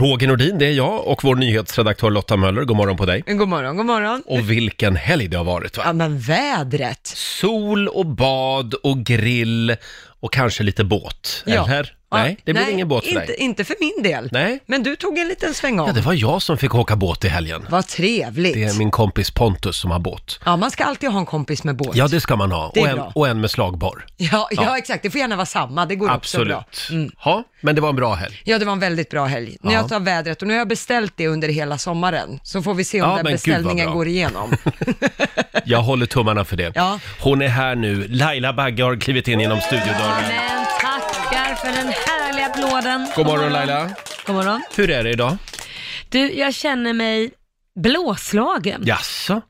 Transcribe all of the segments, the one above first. Roger Nordin, det är jag och vår nyhetsredaktör Lotta Möller. God morgon på dig. God morgon, god morgon. Och vilken helg det har varit Ja, va? men vädret. Sol och bad och grill och kanske lite båt. Ja. Eller? Ja, Nej, det blir ingen båt för inte, dig. Inte för min del. Nej. Men du tog en liten sväng om. Ja, det var jag som fick åka båt i helgen. Vad trevligt. Det är min kompis Pontus som har båt. Ja, man ska alltid ha en kompis med båt. Ja, det ska man ha. Det är Och en, bra. och en med slagborr. ja, ja, Ja. exakt. Det får gärna vara samma. Det går också bra. Mm. Absolut. Ja, men det var en bra helg. Ja, det var en väldigt bra helg. Nu Ja. jag tar vädret och nu har jag beställt det under hela sommaren. Så får vi se om Ja, den men gud, vad beställningen bra. går igenom. Jag håller tummarna för det. Ja. Hon är här nu. Laila Bagge har klivit in genom studiodörren. Men tackar för den härliga applåden. God morgon Laila. God morgon. Hur är det idag? Du, jag känner mig blåslagen. Ja, Jaså?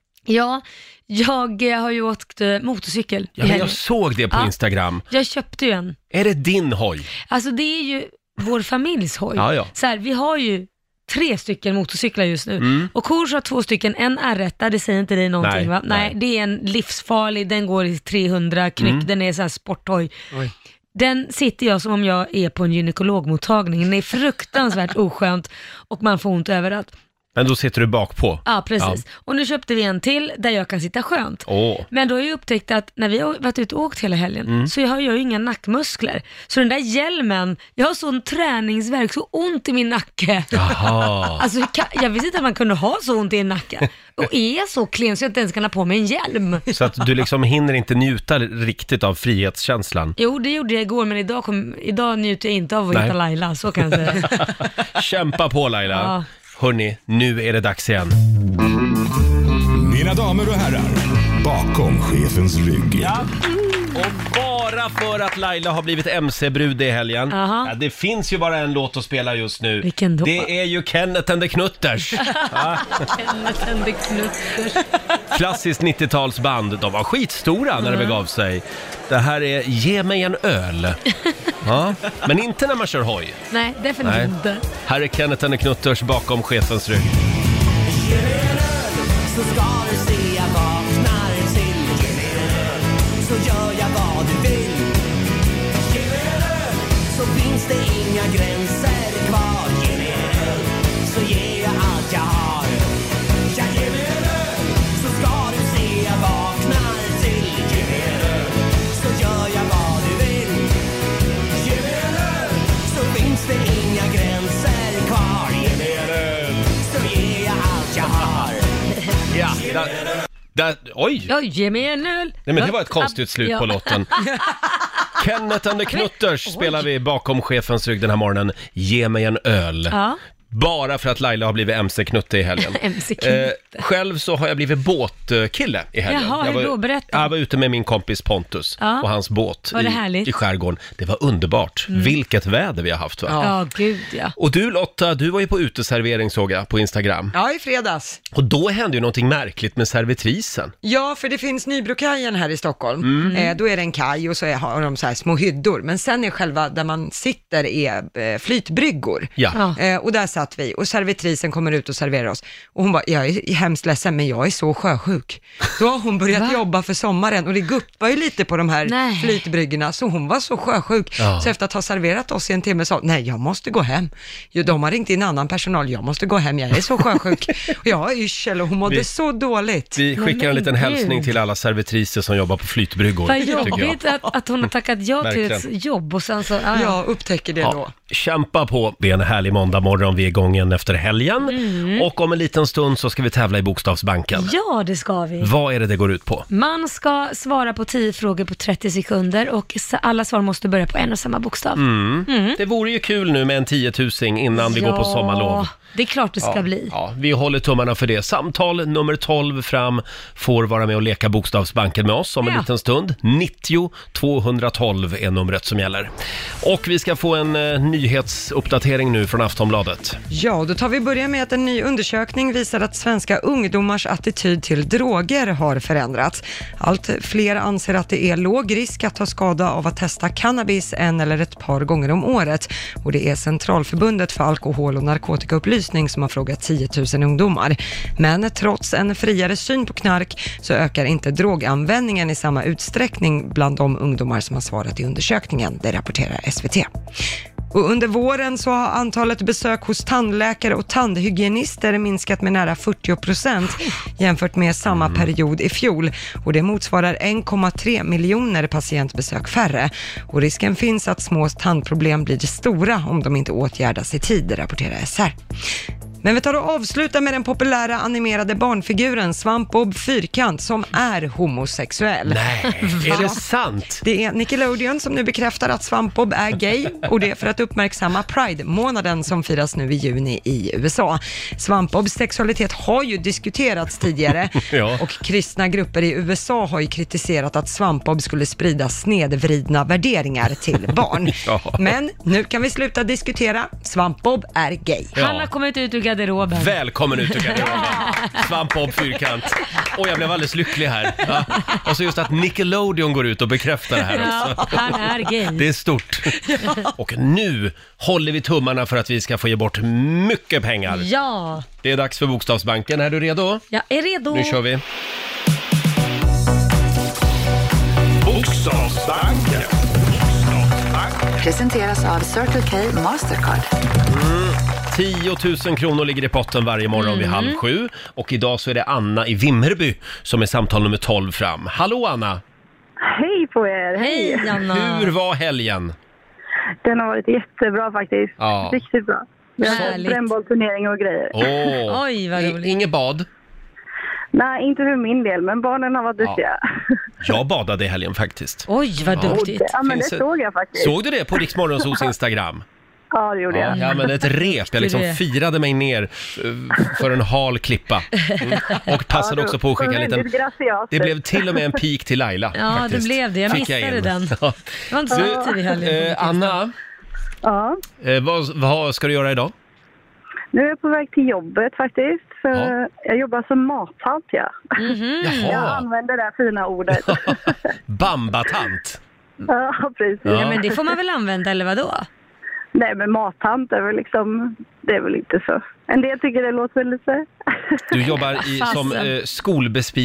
jag eh, har ju åkt eh, motorcykel Ja, i men helgen. jag såg det på Ja. Instagram. Jag köpte ju en. Är det din hoj? Alltså det är ju vår familjs hoj. Ja, ja. Så här, vi har ju tre stycken motorcyklar just nu. Och Kors har två stycken, en R1, det säger inte dig någonting Mm. Nej, va? nej. Mm. Nej, det är en livsfarlig, den går i 300 knyck, den är så här sporthoj. Oj. Den sitter jag som om jag är på en gynekologmottagning. Det är fruktansvärt oskönt och man får ont överallt. Men då sitter du bak på. Ja, precis. Och nu köpte vi en till där jag kan sitta skönt. Åh, Men då har jag upptäckt att när vi har varit ute och åkt hela helgen Mm. så jag har jag ju inga nackmuskler. Så den där hjälmen, jag har sån träningsvärk, så ont i min nacke. jaha. Alltså, jag kan- jag visste inte att man kunde ha så ont i en nacke. Och är jag så klen så jag inte ens kan ha på mig en hjälm? Så att du liksom hinner inte njuta riktigt av frihetskänslan. Jo, det gjorde jag igår, men idag, kom, idag njuter jag inte av att Nej. hitta Laila, så kan jag säga. Kämpa på Laila. Ja. Hörni, nu är det dags igen. Mina damer och herrar, bakom chefens rygg. Och bara för att Laila har blivit MC-brud i helgen. Aha. Ja, det finns ju bara en låt att spela just nu. Vilken då? Det är ju Kenneth and the Knutters. Klassiskt 90-talsband. De var skitstora när det begav sig. Det här är Ge mig en öl. Ja. Men inte när man kör hoj. Nej, definitivt Nej. inte. Här är Kenneth and the Knutters bakom chefens rygg. Så ska du se jag vaknar till Ge mig en öl, Så gör jag vad du vill Ge mig en öl, Så finns det inga gränser kvar Ge mig en öl, Så ger jag allt jag har Ja, ge mig en öl, Så ska du se jag vaknar till Ge mig en öl, Så gör jag vad du vill Ge mig en öl, Så finns det inga gränser kvar Ge mig en öl, Så ger jag allt jag har Ja, där, där, oj! Ja, ge mig en öl. Nej, men det var ett konstigt slut på Ja. låten. Kenneth and the Knutters spelar vi bakom chefens rygg den här morgonen. Ge mig en öl. Ja. Bara för att Laila har blivit MC-knutte i helgen. Eh, MC-knutte. själv så har jag blivit båtkille i helgen. Jaha, jag hur då? Berätta. Jag var ute med min kompis Pontus Ja. och hans båt Var det i, härligt? Mm. i skärgården. Det var underbart. Vilket väder vi har haft va? Ja. Ja, gud ja. Och du Lotta, du var ju på uteservering såg jag på Instagram. Ja, i fredags. Och då hände ju någonting märkligt med servitrisen. Ja, för det finns Nybrokajen här i Stockholm. Mm. Eh, då är det en kaj och så är, har de så här små hyddor. Men sen är själva, där man sitter, är eh, flytbryggor. Ja. Ja. Eh, och där satt vi och servitrisen kommer ut och serverar oss. Och hon bara, jag är hemskt ledsen men jag är så sjösjuk. Då har hon börjat jobba för sommaren och det guppar ju lite på de här Nej. flytbryggorna. Så hon var så sjösjuk. Ja. Så efter att ha serverat oss i en timme sa hon, nej jag måste gå hem. Jo, de har ringt in annan personal, jag måste gå hem, jag är så sjösjuk. och jag har yrsel och hon mådde Vi- så dåligt. Vi Nej, skickar en men liten gud. hälsning till alla servitriser som jobbar på flytbryggor. Vad tycker jag. jobbigt att, att hon har tackat ja till Verkligen. ett jobb och sen så, ja. Jag upptäcker det då. Ja, kämpa på. Det är en härlig måndag morgon. Vi är igång igen efter helgen. Och om en liten stund så ska vi tävla i Bokstavsbanken. Mm. ja, det ska vi. Vad är det det går ut på? Man ska svara på 10 frågor på 30 sekunder och s- alla svar måste börja på en och samma bokstav. Mm. Mm. Det vore ju kul nu med en tiotusing innan Mm, vi går på sommarlov. Det är klart det ska bli. Ja, vi håller tummarna för det. Samtal nummer 12 fram får vara med och leka Bokstavsbanken med oss om en Ja. liten stund. 90 212 är numret som gäller. Och vi ska få en eh, nyhetsuppdatering nu från Aftonbladet. Ja, då tar vi börja med att en ny undersökning visar att svenska ungdomars attityd till droger har förändrats. Allt fler anser att det är låg risk att ta skada av att testa cannabis en eller ett par gånger om året. Och det är Centralförbundet för alkohol och narkotikaupplysning som har frågat 10 000 ungdomar. Men trots en friare syn på knark så ökar inte droganvändningen i samma utsträckning bland de ungdomar som har svarat i undersökningen. Det rapporterar SVT. Och under våren så har antalet besök hos tandläkare och tandhygienister minskat med nära 40 procent jämfört med samma Mm. period i fjol. Och det motsvarar 1,3 miljoner patientbesök färre. Och risken finns att små tandproblem blir stora om de inte åtgärdas i tid, rapporterar SR. Men vi tar och avslutar med den populära animerade barnfiguren Svampbob Fyrkant som är homosexuell. Nej, är det sant? Det är Nickelodeon som nu bekräftar att Svampbob är gay och det för att uppmärksamma Pride-månaden som firas nu i juni i USA. Svampbobs sexualitet har ju diskuterats tidigare Ja. och kristna grupper i USA har ju kritiserat att Svampbob skulle sprida snedvridna värderingar till barn. Ja. Men nu kan vi sluta diskutera. Svampbob är gay. Han har kommit ut ur garderoben. Välkommen ut ur garderoben! Svampbob Fyrkant. Och jag blev alldeles lycklig här. Ja. Och så just att Nickelodeon går ut och bekräftar det här också. Ja, han är gay. Det är stort. Och nu håller vi tummarna för att vi ska få ge bort mycket pengar. Ja, Det är dags för Bokstavsbanken. Är du redo? jag är redo. Nu kör vi. Bokstavsbanken. Presenteras av Circle K Mastercard. 10 000 kronor ligger i potten varje morgon vid halv sju. Och idag så är det Anna i Vimmerby som är samtal nummer 12 fram. Hallå Anna! Hej på er! Hej Anna. Hur var helgen? Den har varit jättebra faktiskt. Ja. Riktigt bra. Vi har haft Härligt. brännbollsturnering och grejer. Åh, Oj, vad i- roligt. Inget bad? Nej, inte för min del, men barnen har varit duktiga. Jag badade i helgen faktiskt. Oj, vad Och duktigt. det, ja, men det Finns det- såg jag faktiskt. Såg du det på Riksmorgonsos Instagram? Ja, det gjorde Ja, jag. jag använde ett rep. Jag liksom det. firade mig ner eh, för en hal klippa. Mm. Och passade också på att skicka en liten... Väldigt graciöst. Det blev till och med en pik till Laila. Ja, faktiskt. det blev det. Jag Fick missade in. den. Ja. Det var inte så aktiv i helgen. Eh, Anna, Ja. eh, vad, vad ska du göra idag? Nu är jag på väg till jobbet faktiskt. För Ja. Jag jobbar som mathalt, ja. Mhm. Jag Jaha, använder det här fina ordet. bambatant. ja, precis. Mm. Ja. Ja, men det får man väl använda, eller vadå? Nej, men mattant är väl liksom... Det är väl inte så... En del tycker det låter väl lite... Du jobbar i, som Fasen. eh,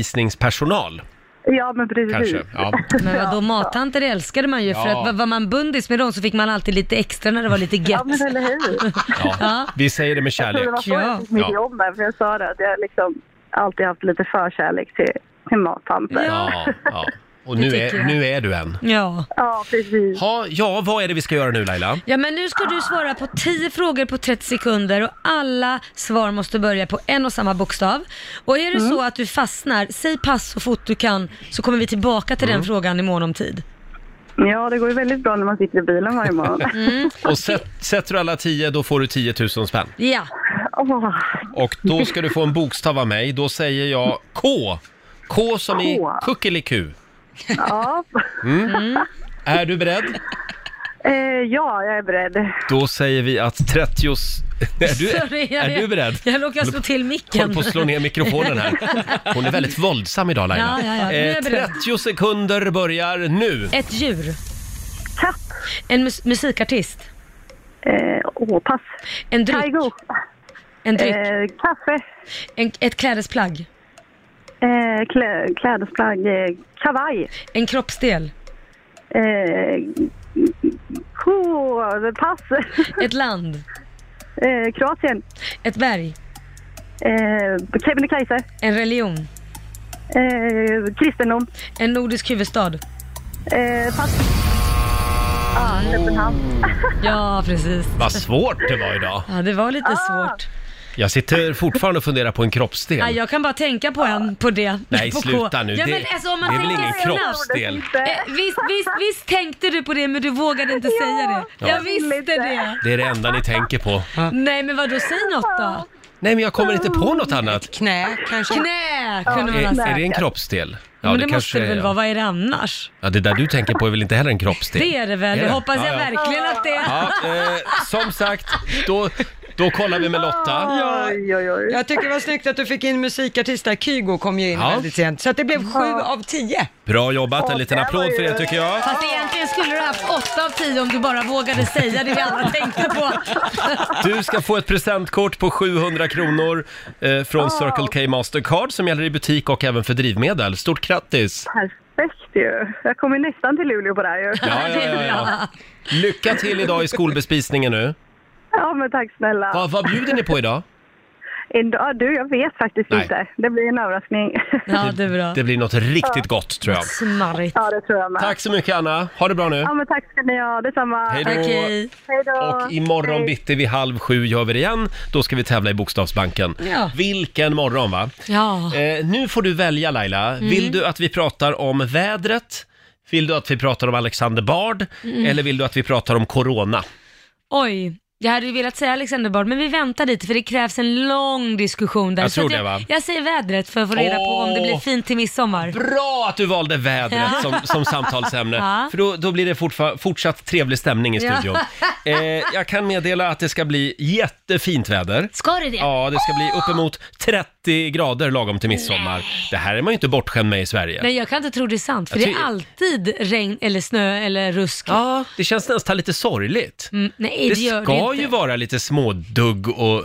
skolbespisningspersonal ja, men precis. kanske? Ja. Men vadå, mattanter älskade man ju för Ja. att var- var man bundis med dem så fick man alltid lite extra när det var lite Ja, gött. men eller hur? Ja. Ja. Vi säger det med Så kärlek. det var så Ja. jag fick mitt Ja. jobb där, för jag sa det att jag liksom alltid haft lite förkärlek till, till mattanter. Ja. Ja, ja. Och nu tycker är, jag. nu är du en. Ja. precis. Ha, ja, vad är det vi ska göra nu Laila? ja, men nu ska du svara på 10 frågor på 30 sekunder och alla svar måste börja på en och samma bokstav. Och är det Mm. så att du fastnar, säg pass så fort du kan så kommer vi tillbaka till Mm. den frågan i mån om tid. Ja, det går ju väldigt bra när man sitter i bilen varje morgon. Mm. Och sätt, sätter du alla tio, då får du 10 000 spänn. Ja, Åh, Och då ska du få en bokstav av mig. Då säger jag K. K som i K. kuckeliku. Mm. ja. Är du beredd? Eh, ja, jag är beredd. Då säger vi att 30... s- Är du, Sorry, jag är vet. du beredd? jag råkade slå till Håller micken. på att slå ner mikrofonen här. Hon är väldigt våldsam idag Laila. Ja, ja, ja. Nu är jag Eh, beredd. 30 sekunder börjar nu. Ett djur, Katt. en mus- musikartist, Eh, åh, pass. en dryck, Kaigo. en dryck, Eh, kaffe. en, ett klädesplagg, Eh, klä, klädesplagg. Eh, kavaj. en kroppsdel, Eh, ko, pass. ett land, Eh, Kroatien. ett berg, Eh, Kebnekaise. en religion, Eh, kristendom. en nordisk huvudstad. Eh, pass. Ah, Köpenhamn. Ja, precis. Vad svårt det var idag. Ja, det var lite Ah. svårt. Jag sitter fortfarande och funderar på en kroppsdel. Ja, jag kan bara tänka på en, på det. Nej, på K. sluta nu. Ja, Det, men, alltså, om det man är väl tänker ingen sig snabbt. kroppsdel? Eh, Visst, visst, visst tänkte du på det men du vågade inte säga det. Jag visste det. Det är det enda ni tänker på. Nej men vadå, säg något då. Nej, men jag kommer inte på något annat. Knä kanske? Knä kunde man ha Är, sagt. är det en kroppsdel? Ja, men det, måste är, det väl ja. vara, vad är det annars? Ja, det där du tänker på är väl inte heller en kroppsdel? Det är det väl, Är det hoppas Ja, jag ja. verkligen att det är. Ja, eh, som sagt, då, då kollar vi med Lotta. Ja, Oj, oj, oj. jag tycker det var snyggt att du fick in musikartister. Kygo kom ju in Ja. väldigt sent. Så att det blev sju av tio. Bra jobbat, en liten applåd för det tycker jag. Fast egentligen skulle du haft åtta av tio om du bara vågade säga det vi alla tänkte på. Du ska få ett presentkort på 700 kronor eh, från Circle K Mastercard som gäller i butik och även för drivmedel. Stort grattis! Här. perfekt ju. Jag kommer nästan till Luleå på det här ju. Ja, ja, ja, ja. Lycka till idag i skolbespisningen nu. Ja, men tack snälla. Vad, vad bjuder ni på idag? En dag, du, jag vet faktiskt Nej. inte. Det blir en överraskning. Ja, det är bra. Det blir något riktigt gott tror jag. Smarrigt. ja, det tror jag med. Tack så mycket Anna, ha det bra nu. Ja, men tack ska ni ha. Detsamma. Hej då. Okej. Hej då. Och imorgon Hej. bitti vid halv sju gör vi det igen. Då ska vi tävla i Bokstavsbanken. Ja. Vilken morgon va? Ja. Eh, nu får du välja Laila. Mm. Vill du att vi pratar om vädret? Vill du att vi pratar om Alexander Bard? Mm. Eller vill du att vi pratar om Corona? Oj, jag hade ju velat säga Alexander Bard, men vi väntar lite för det krävs en lång diskussion där. Jag tror att det, jag, va? jag säger vädret för att få reda på om det blir Åh. fint till midsommar. Bra att du valde vädret Ja. som, som samtalsämne. Ja. För då, då blir det fortfa- fortsatt trevlig stämning i Ja. studion. Eh, jag kan meddela att det ska bli jättefint väder. Ska det det? Ja, det ska bli uppemot 30 grader lagom till midsommar. Det här är man ju inte bortskämd med i Sverige. Nej, jag kan inte tro det är sant, för Jag det är ty- alltid regn eller snö eller rusk. Ja, det känns nästan lite sorgligt. Mm, nej, det, Det gör det ska inte. ju vara lite smådugg och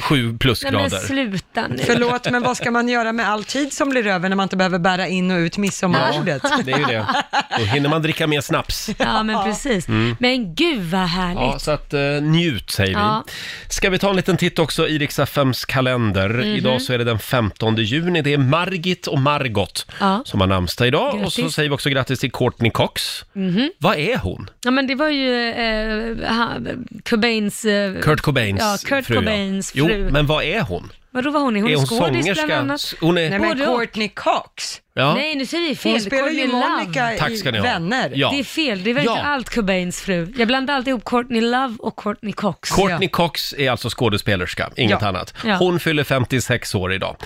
sju Nej, men plusgrader. sluta nu. Förlåt, men vad ska man göra med all tid som blir över när man inte behöver bära in och ut midsommarbordet? Det är ju det. Då hinner man dricka mer snaps. Ja, men precis. Mm. Men gud vad härligt. Ja, så att eh, njut säger Ja. vi. Ska vi ta en liten titt också i Rix FMs kalender. Mhm. Idag så är det den 15 juni. Det är Margit och Margot Ja. som har namnsdag idag. Och Grattis. så säger vi också grattis till Courtney Cox. Vad är hon? Mhm. Ja, men det var ju eh, han- Cobains... Eh, Kurt Cobains Ja, Kurt fru. ja. Cobains Jo, fru. men vad är hon? Vadå var hon? Är hon, är hon skådis bland sångerska? annat? S- Hon är... Nej, men Både och. Courtney Cox, ja. Nej, nu säger vi fel. hon spelar ju Courtney Love. Monica i Tack ska ni ha. Vänner. Ja. Det är fel, det var Ja. inte allt Cobains fru. Jag blandar alltid ihop Courtney Love och Courtney Cox. Courtney Cox är alltså skådespelerska, inget Ja. annat. Ja. Hon fyller 56 år idag.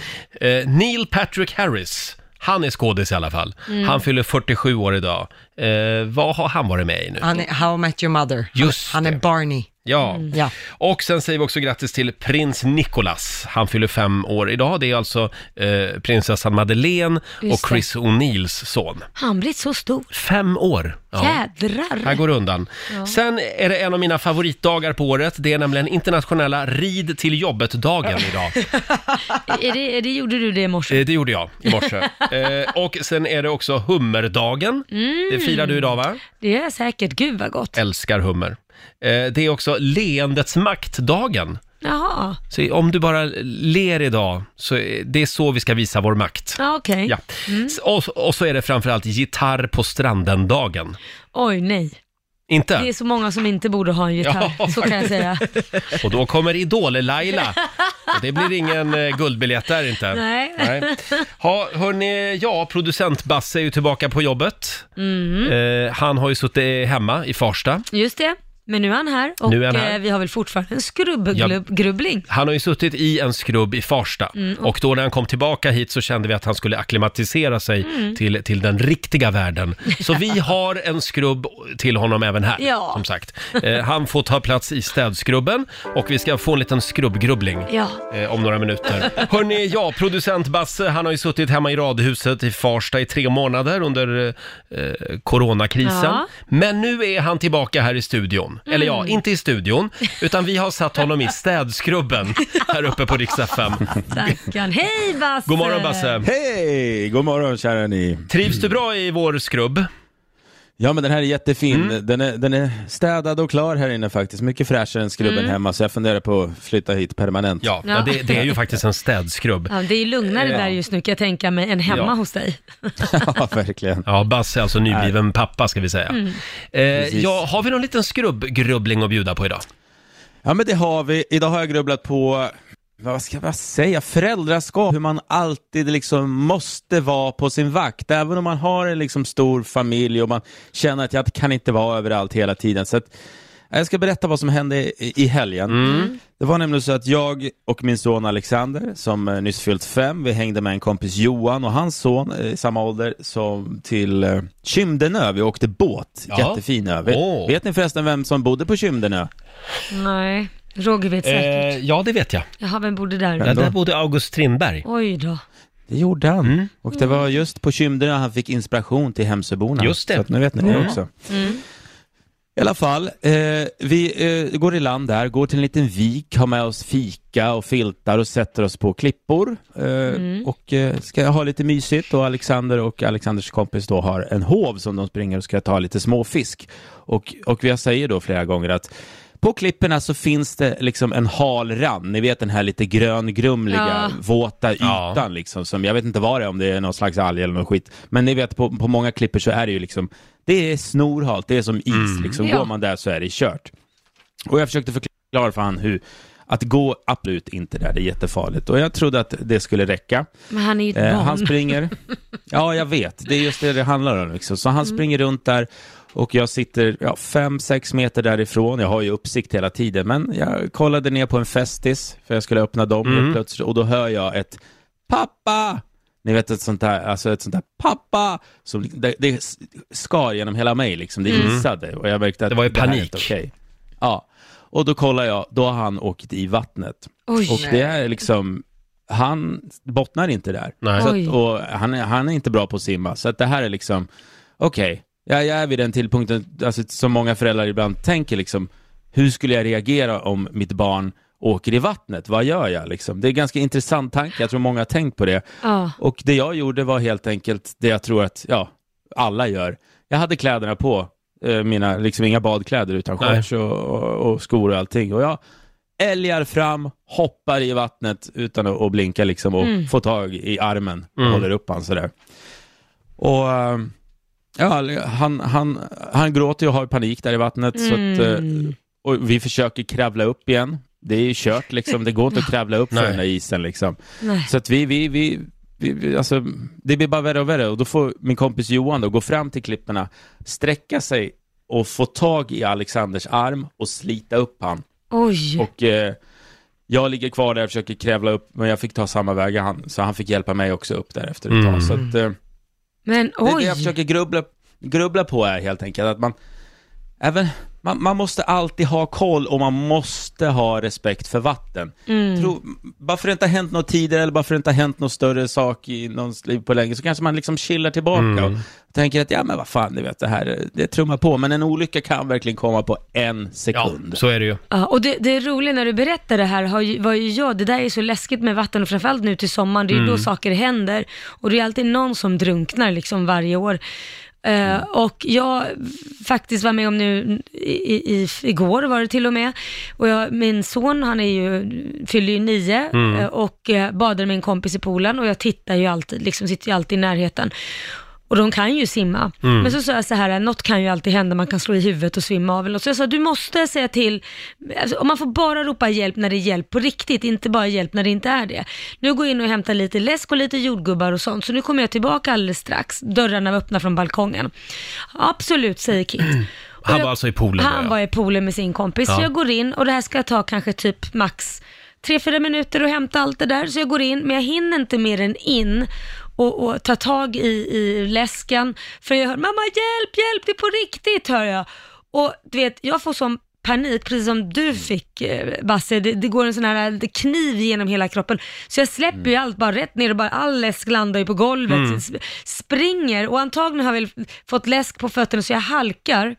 Eh, Neil Patrick Harris, han är skådis i alla fall. Mm. Han fyller 47 år idag. Eh, vad har han varit med i nu? Han är How I Met Your Mother. Just han är det. Barney. Ja. Ja. Och sen säger vi också grattis till prins Nicolas. Han fyller fem år idag. Det är alltså eh, prinsessan Madeleine Just och Chris O'Neills son. Han blir så stor. Fem år! Ja. Här Jädrar. går det undan. Sen är det en av mina favoritdagar på året. Det är nämligen internationella rid till jobbet-dagen idag. är det, är det, gjorde du det i morse? Eh, Det gjorde jag i morse. eh, och sen är det också hummerdagen. Det firar du idag va? Det är säkert. Gud vad gott. Älskar hummer. Eh, det är också leendets maktdagen. Jaha. Så om du bara ler idag, så är det är så vi ska visa vår makt. Ja, okej. Ja. S- Och, och så är det framförallt gitarr på stranden-dagen. Oj, nej. Inte? Det är så många som inte borde ha en gitarr, Ja, så kan jag säga. Och då kommer Idol-Laila. Och Det blir ingen eh, guldbiljett där inte. Nej. Ha, hörni, ja, producent Basse är ju tillbaka på jobbet. Mm. Eh, han har ju suttit hemma i Farsta. Just det. Men nu är han här och Nu är han här. eh, vi har väl fortfarande en Ja. skrubbgrubbling. Han har ju suttit i en skrubb i Farsta Mm. och... då när han kom tillbaka hit så kände vi att han skulle akklimatisera sig Mm. till, till den riktiga världen. Så vi har en skrubb till honom även här, Ja. som sagt. Eh, han får ta plats i städskrubben och vi ska få en liten skrubbgrubbling. Ja. eh, om några minuter. Hörni, ja, producent Basse, han har ju suttit hemma i radhuset i Farsta i tre månader under eh, coronakrisen. Ja. Mm. Men nu är han tillbaka här i studion. Eller ja, inte i studion, utan vi har satt honom i städskrubben här uppe på Rix FM. Stackarn. Hej Basse! God morgon Basse! Hej! God morgon kära ni. Trivs du bra i vår skrubb? Mm. Ja men den här är jättefin. Den, är, den är städad och klar här inne faktiskt. Mycket fräschare än skrubben hemma så jag funderar på att flytta hit permanent. Ja, Ja. ja. Det, det är ju faktiskt en städskrubb. Ja, det är ju lugnare där just nu kan jag tänka mig, än hemma Ja. hos dig. Ja, verkligen. Ja, Basse är alltså nybliven pappa ska vi säga. Mm. Eh, Precis. ja, har vi någon liten skrubbgrubbling att bjuda på idag? Ja men det har vi. Idag har jag grubblat på, vad ska jag säga, föräldraskap. Hur man alltid liksom måste vara på sin vakt. Även om man har en liksom stor familj och man känner att jag kan inte vara överallt hela tiden. Så att, jag ska berätta vad som hände i, i helgen. Mm. Det var nämligen så att jag och min son Alexander, som eh, nyss fyllt fem, vi hängde med en kompis Johan och hans son eh, i samma ålder, som till eh, Kymdenö. Vi åkte båt, Ja. jättefin ö. Vet- Åh. Vet ni förresten vem som bodde på Kymdenö? Nej, Roger vet säkert. Eh, ja, det vet jag. Jaha, vem bodde där? Ja, Vem då? där bodde August Strindberg. Mm. Oj då. Det gjorde han. Och det var just Mm. på Kymdenö han fick inspiration till Hemsöborna. Just det. Mm. Mm. Så att nu vet ni det också. I alla fall, eh, vi eh, går i land där, går till en liten vik, har med oss fika och filtar och sätter oss på klippor. Eh, Och eh, ska ha lite mysigt och Alexander och Alexanders kompis då har en hov som de springer och ska ta lite småfisk. Och, och jag säger då flera gånger att på klipporna så finns det liksom en hal rand, ni vet den här lite gröngrumliga, Ja. våta Ja. ytan liksom, som, jag vet inte vad det är, om det är någon slags alg eller någon skit. Men ni vet, på, på många klippor så är det ju liksom, det är snorhalt, det är som is liksom. Ja. Går man där så är det kört. Och jag försökte förklara för han hur, att gå absolut inte där, det är jättefarligt. Och jag trodde att det skulle räcka. Men han är ju ett Eh, barn. han springer. Ja, jag vet. Det är just det det handlar om. Liksom. Så han Mm. springer runt där och jag sitter ja, fem, sex meter därifrån. Jag har ju uppsikt hela tiden, men jag kollade ner på en festis för jag skulle öppna dem Mm. helt plötsligt och då hör jag ett pappa. Ni vet ett sånt där, alltså ett sånt där pappa, som, det, det skar genom hela mig liksom, det isade och jag märkte att Mm. Det var ju här är panik. inte okej. Ja, och då kollar jag, då har han åkt i vattnet. Oj. Och det är liksom, han bottnar inte där. Nej. Så att, Oj. och han är, han är inte bra på att simma. Så att det här är liksom, okej, jag, jag är vid den tillpunkten, alltså, som många föräldrar ibland tänker liksom, hur skulle jag reagera om mitt barn åker i vattnet? Vad gör jag liksom? Det är en ganska intressant tanke, jag tror många har tänkt på det. Ja. Och det jag gjorde var helt enkelt det jag tror att, ja, alla gör. Jag hade kläderna på, eh, mina, liksom inga badkläder utan Nej. shorts och, och, och skor och allting. Och jag älgar fram, hoppar i vattnet utan att, att blinka liksom och får tag i armen och Mm. håller upp han sådär. Och eh, ja, han, han, han gråter och har panik där i vattnet så att, eh, och vi försöker kravla upp igen. Det är ju kört liksom, det går inte att kravla upp för Nej. den där isen liksom. Nej. Så att vi, vi, vi, vi, vi alltså, det blir bara värre och värre och då får min kompis Johan då gå fram till klipporna, sträcka sig och få tag i Alexanders arm och slita upp han. Oj. Och eh, jag ligger kvar där och försöker krävla upp, men jag fick ta samma väg han, så han fick hjälpa mig också upp där efter ett tag. Så att, eh, Men det är det oj. jag försöker grubbla, grubbla på är helt enkelt att man, även, man, man måste alltid ha koll och man måste ha respekt för vatten. Mm. Tro, bara för det inte har hänt något tidigare eller bara för det inte har hänt något större sak i någons liv på länge så kanske man liksom chillar tillbaka Mm. och tänker att ja men vad fan, du vet det här, det trummar på. Men en olycka kan verkligen komma på en Ja, sekund. så är det ju. Ja, och det, det är roligt när du berättar det här, har ju, var ju jag, det där är så läskigt med vatten och framförallt nu till sommaren, det är ju då saker händer och det är alltid någon som drunknar liksom varje år. Eh, Och jag faktiskt var med om nu, i, i, igår var det till och med, och jag, min son han är ju, fyller ju nio eh, och eh, badar med en kompis i poolen och jag tittar ju alltid, liksom sitter ju alltid i närheten. Och de kan ju simma. Men så sa jag så här, något kan ju alltid hända, man kan slå i huvudet och svimma av eller något. Så jag sa, du måste säga till, alltså, och man får bara ropa hjälp när det är hjälp på riktigt, inte bara hjälp när det inte är det. Nu går jag in och hämtar lite läsk och lite jordgubbar och sånt, så nu kommer jag tillbaka alldeles strax. Dörrarna var öppna från balkongen. Absolut, säger Kit. Och Han jag- var alltså i poolen då, Han ja. var i poolen med sin kompis. Ja. Så jag går in och det här ska ta kanske typ max 3-4 minuter att hämta allt det där. Så jag går in, men jag hinner inte mer än in och, och ta tag i, i läsken. För jag hör, mamma hjälp, hjälp, det är på riktigt, hör jag. Och du vet, jag får sån panik, precis som Mm. du fick eh, Basse. Det, det går en sån här eh, kniv genom hela kroppen. Så jag släpper ju Mm. allt bara rätt ner och bara all läsk landar ju på golvet. Sp- Springer och antagligen har jag väl fått läsk på fötterna så jag halkar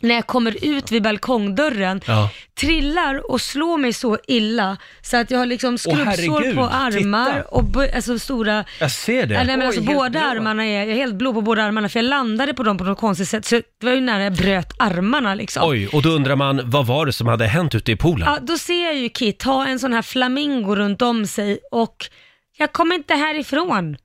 när jag kommer ut vid balkongdörren, Ja. trillar och slår mig så illa så att jag har liksom skrubbsår herregud, på armar titta. och bo- alltså stora... Jag ser Nej, det. men alltså, helt båda blå. armarna är, jag är helt blå på båda armarna för jag landade på dem på något konstigt sätt så det var ju nära jag bröt armarna liksom. Oj, och då undrar man, vad var det som hade hänt ute i poolen? Ja, då ser jag ju Kit ha en sån här flamingo runt om sig och jag kommer inte härifrån.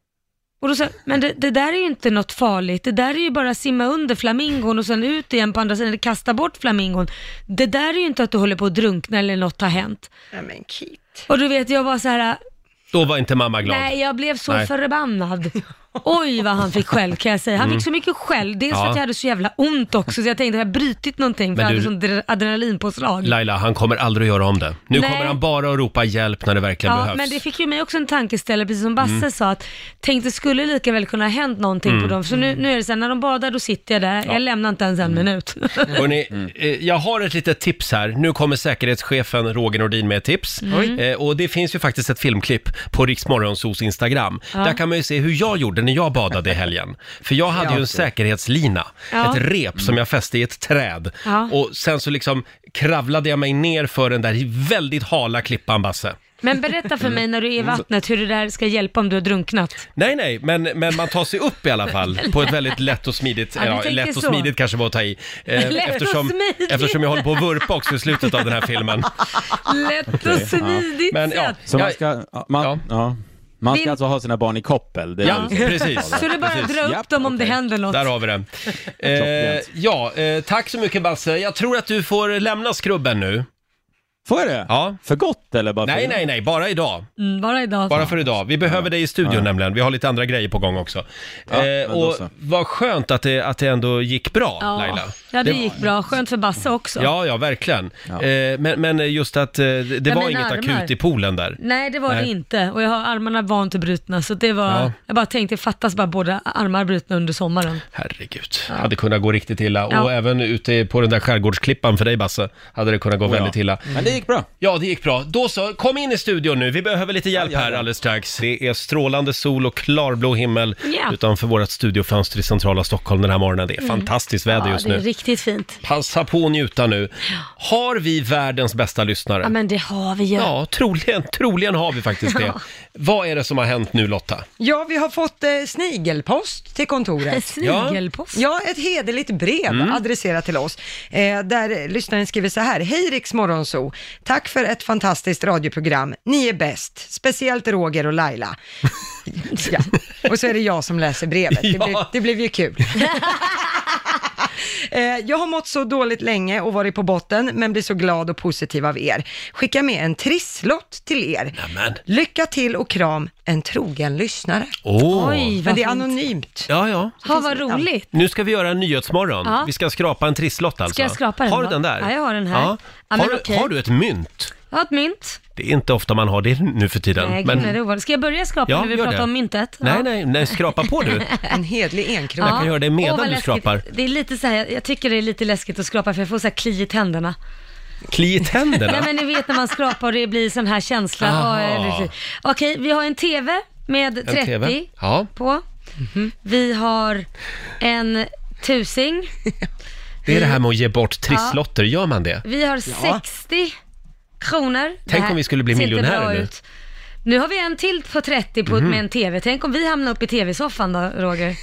Och då sa jag, men det, det där är ju inte något farligt. Det där är ju bara att simma under flamingon och sen ut igen på andra sidan, eller kasta bort flamingon. Det där är ju inte att du håller på att drunkna eller något har hänt. Nej men Kit. Och du vet, jag var så här, Då var inte mamma glad. nej jag blev så Nej. förbannad. Oj vad han fick skäll kan jag säga. Han fick så mycket skäll. Dels för Mm. Ja. att jag hade så jävla ont också så jag tänkte, har jag brutit någonting? För jag Men hade du- sån dre- adrenalinpåslag. Laila, han kommer aldrig att göra om det. Nu Nej. kommer han bara att ropa hjälp när det verkligen ja, behövs. men det fick ju mig också en tankeställare, precis som Basse Mm. sa, att tänkte skulle lika väl kunna ha hänt någonting på dem. Så nu, nu är det så här, när de badar då sitter jag där, jag lämnar inte ens en Mm. minut. Hörrni, eh, jag har ett litet tips här. Nu kommer säkerhetschefen Roger Nordin med ett tips. Mm. Eh, och det finns ju faktiskt ett filmklipp på Riksmorgonsos Instagram. Där kan man ju se hur jag gjorde när jag badade i helgen. För jag hade ju en säkerhetslina, Ja. ett rep som jag fäste i ett träd. Ja. Och sen så liksom kravlade jag mig ner för den där väldigt hala klippan, Basse. Men berätta för mig när du är i Mm. vattnet hur det där ska hjälpa om du har drunknat. Nej, nej, men, men man tar sig upp i alla fall på ett väldigt lätt och smidigt, Ja, du ja, tänker lätt och så. smidigt kanske var att ta i. Eh, Lätt och eftersom, smidigt. eftersom jag håller på att vurpa också i slutet av den här filmen. Lätt och smidigt Men ja, sätt. Så man jag- ska, ja, man, Ja. ja. man Vin- ska alltså ha sina barn i koppel? Det är ja väl så. precis. Så det är bara att precis. dra upp Japp, dem om det okej. händer något. Där har vi det. Eh, Klockrent. ja, eh, tack så mycket Basse. Jag tror att du får lämna skrubben nu. Får jag det? Ja. För gott eller bara för Nej, nej, nej, bara idag. Mm, bara idag. Bara för idag. Vi behöver dig i studion Ja. nämligen. Vi har lite andra grejer på gång också. men Eh, då och så. vad skönt att det, att det ändå gick bra, ja. Laila. ja, det gick bra. Skönt för Basse också. Ja, ja, verkligen. Ja. Eh, men, men just att eh, det det Ja, var men inget armar. akut i poolen där. Nej, det var det Nej. inte. Och jag har armarna vant till brutna, så det var... Ja. Jag bara tänkte, fattas bara båda armar brutna under sommaren. Herregud, hade kunnat gå riktigt illa. Ja. Och även ute på den där skärgårdsklippan för dig Basse, hade det kunnat gå Oh, ja. väldigt illa. Men det gick bra. Ja, det gick bra. Då så, kom in i studion nu. Vi behöver lite hjälp Ja, ja, här ja. alldeles strax. Det är strålande sol och klarblå himmel Ja. Mm. utanför vårt studiofönster i centrala Stockholm den här morgonen. Det är fantastiskt väder just ja, det är nu. riktigt fint. Passa på att njuta nu. Har vi världens bästa lyssnare? Ja, men det har vi ju. Ja, troligen, troligen har vi faktiskt det. Vad är det som har hänt nu Lotta? Ja, vi har fått eh, snigelpost till En kontoret. snigelpost. Ja, ett hederligt brev Mm. adresserat till oss, eh, där lyssnaren skriver så här. Hej Riks Morgonzoo! Tack för ett fantastiskt radioprogram. Ni är bäst, speciellt Roger och Laila. ja. Och så är det jag som läser brevet. Det, Ja. blev, det blev ju kul. Eh, Jag har mått så dåligt länge och varit på botten, men blir så glad och positiv av er. Skicka med en trisslott till er. Nämen. Lycka till och kram, en trogen lyssnare. Åh! Oj, vad Men det är fint. anonymt. Ja, ja. Ha, vad roligt. Nu ska vi göra en nyhetsmorgon. Ja. Vi ska skrapa en trisslott alltså. Ska jag skrapa den Har du då? den där? Ja, jag har den här. Ja. Ja, men har, du, okej. har du ett mynt? Jag har ett mynt. Det är inte ofta man har det nu för tiden. Nej, gud, nej, det är ovanligt. Ska jag börja skrapa Ja, när vi gör pratar det. om myntet? Nej, Ja. nej, nej, skrapa på du. En hedlig enkrona. Jag kan göra det medan Åh, vad du läskigt. skrapar. Det är lite så här, jag- jag tycker det är lite läskigt att skrapa för jag får så här kli i tänderna. Kli i Nej tänderna. men ni vet när man skrapar och det blir sån här känsla. Aha. Ja, eller hur. Okej, vi har en TV med 30 TV. Ja. på. Mhm. Vi har en tusing. Det är det här med att ge bort trisslotter, gör man det? Vi har 60 kronor. Det här om vi skulle bli ser inte miljonärer bra nu. Mhm. ut. Nu har vi en till på 30 på, med en TV. Tänk om vi hamnar uppe i TV-soffan då, Roger.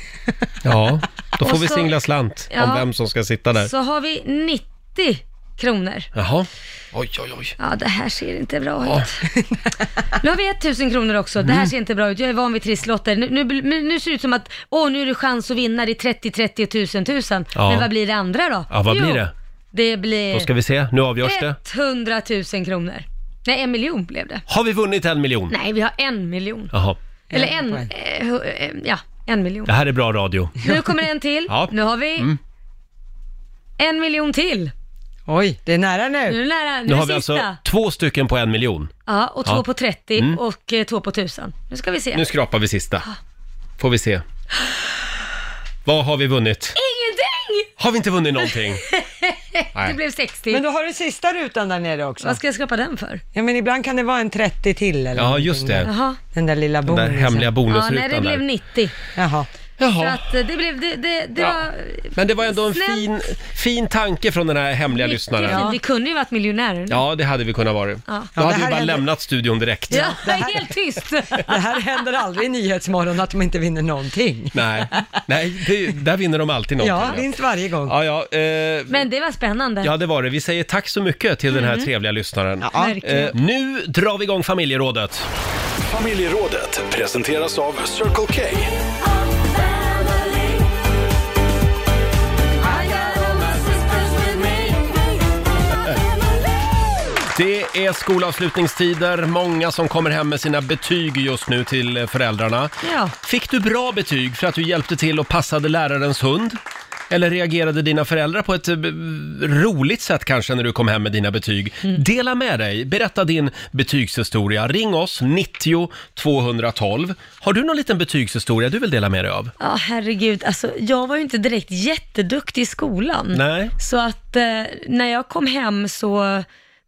Ja, då får Och vi så- singla slant om Ja. vem som ska sitta där. Så har vi 90 kronor. Jaha. Oj, oj, oj. Ja, det här ser inte bra ut. Nu har vi 1000 kronor också. Det Mm. här ser inte bra ut. Jag är van vid trisslotter. Nu, nu, men nu ser det ut som att, åh, nu är det chans att vinna. Det är 30, 30, 1000, 1000. Ja. Men vad blir det andra då? Ja, vad Jo, blir det? Det Då blir ska vi se, nu avgörs det. 100 000 kronor. Nej, en miljon blev det. Har vi vunnit en miljon? Nej, vi har en miljon. Jaha. Eller En en, poäng. eh, hu- eh, ja, en miljon. Det här är bra radio. Nu kommer en till. Ja. Mm. Nu har vi en miljon till. Oj, det är nära Nu nu. är det nära, nu, Nu är har det vi sista. alltså två stycken på en miljon. Ja, och två Ja. Mm. på 30 och eh, två på 1000. Nu ska vi se. Nu skrapar vi sista. Får vi se. Vad har vi vunnit? Ingenting! Har vi inte vunnit någonting? Det Nej. blev 60. Men då har du sista rutan där nere också. Vad ska jag skrapa den för? Ja, men ibland kan det vara en 30 till eller Ja, någonting just där. det. Jaha. Den där lilla Den där bonusen. hemliga Ja, nej, bonusrutan det blev där. 90. Jaha. Så Jaha. att eh, det blev, det, det, det Ja. var Men det var ändå en Snällt. fin, fin tanke från den här hemliga mycket lyssnaren. fint. Vi kunde ju varit miljonärer. Ja, det hade vi kunnat vara. Då Ja, det hade vi här bara är- lämnat studion direkt. ja det är helt tyst. Det här händer aldrig i Nyhetsmorgon att de inte vinner någonting. Nej, Nej det, där vinner de alltid någonting. Ja, vinst varje gång. ja, ja, eh, Men det var spännande. ja, det var det. Vi säger tack så mycket till den här trevliga lyssnaren. Mm. Verkligen. Eh, nu drar vi igång familjerådet. Familjerådet presenteras av Circle K. Det är skolavslutningstider, många som kommer hem med sina betyg just nu till eh, föräldrarna. Ja. Fick du bra betyg för att du hjälpte till och passade lärarens hund? Eller reagerade dina föräldrar på ett eh, b- roligt sätt kanske när du kom hem med dina betyg? Mm. Dela med dig, berätta din betygshistoria. Ring oss, 90 212. Har du någon liten betygshistoria du vill dela med dig av? Ja, herregud. Alltså, jag var ju inte direkt Mm. jätteduktig i skolan. Nej. Så att eh, när jag kom hem så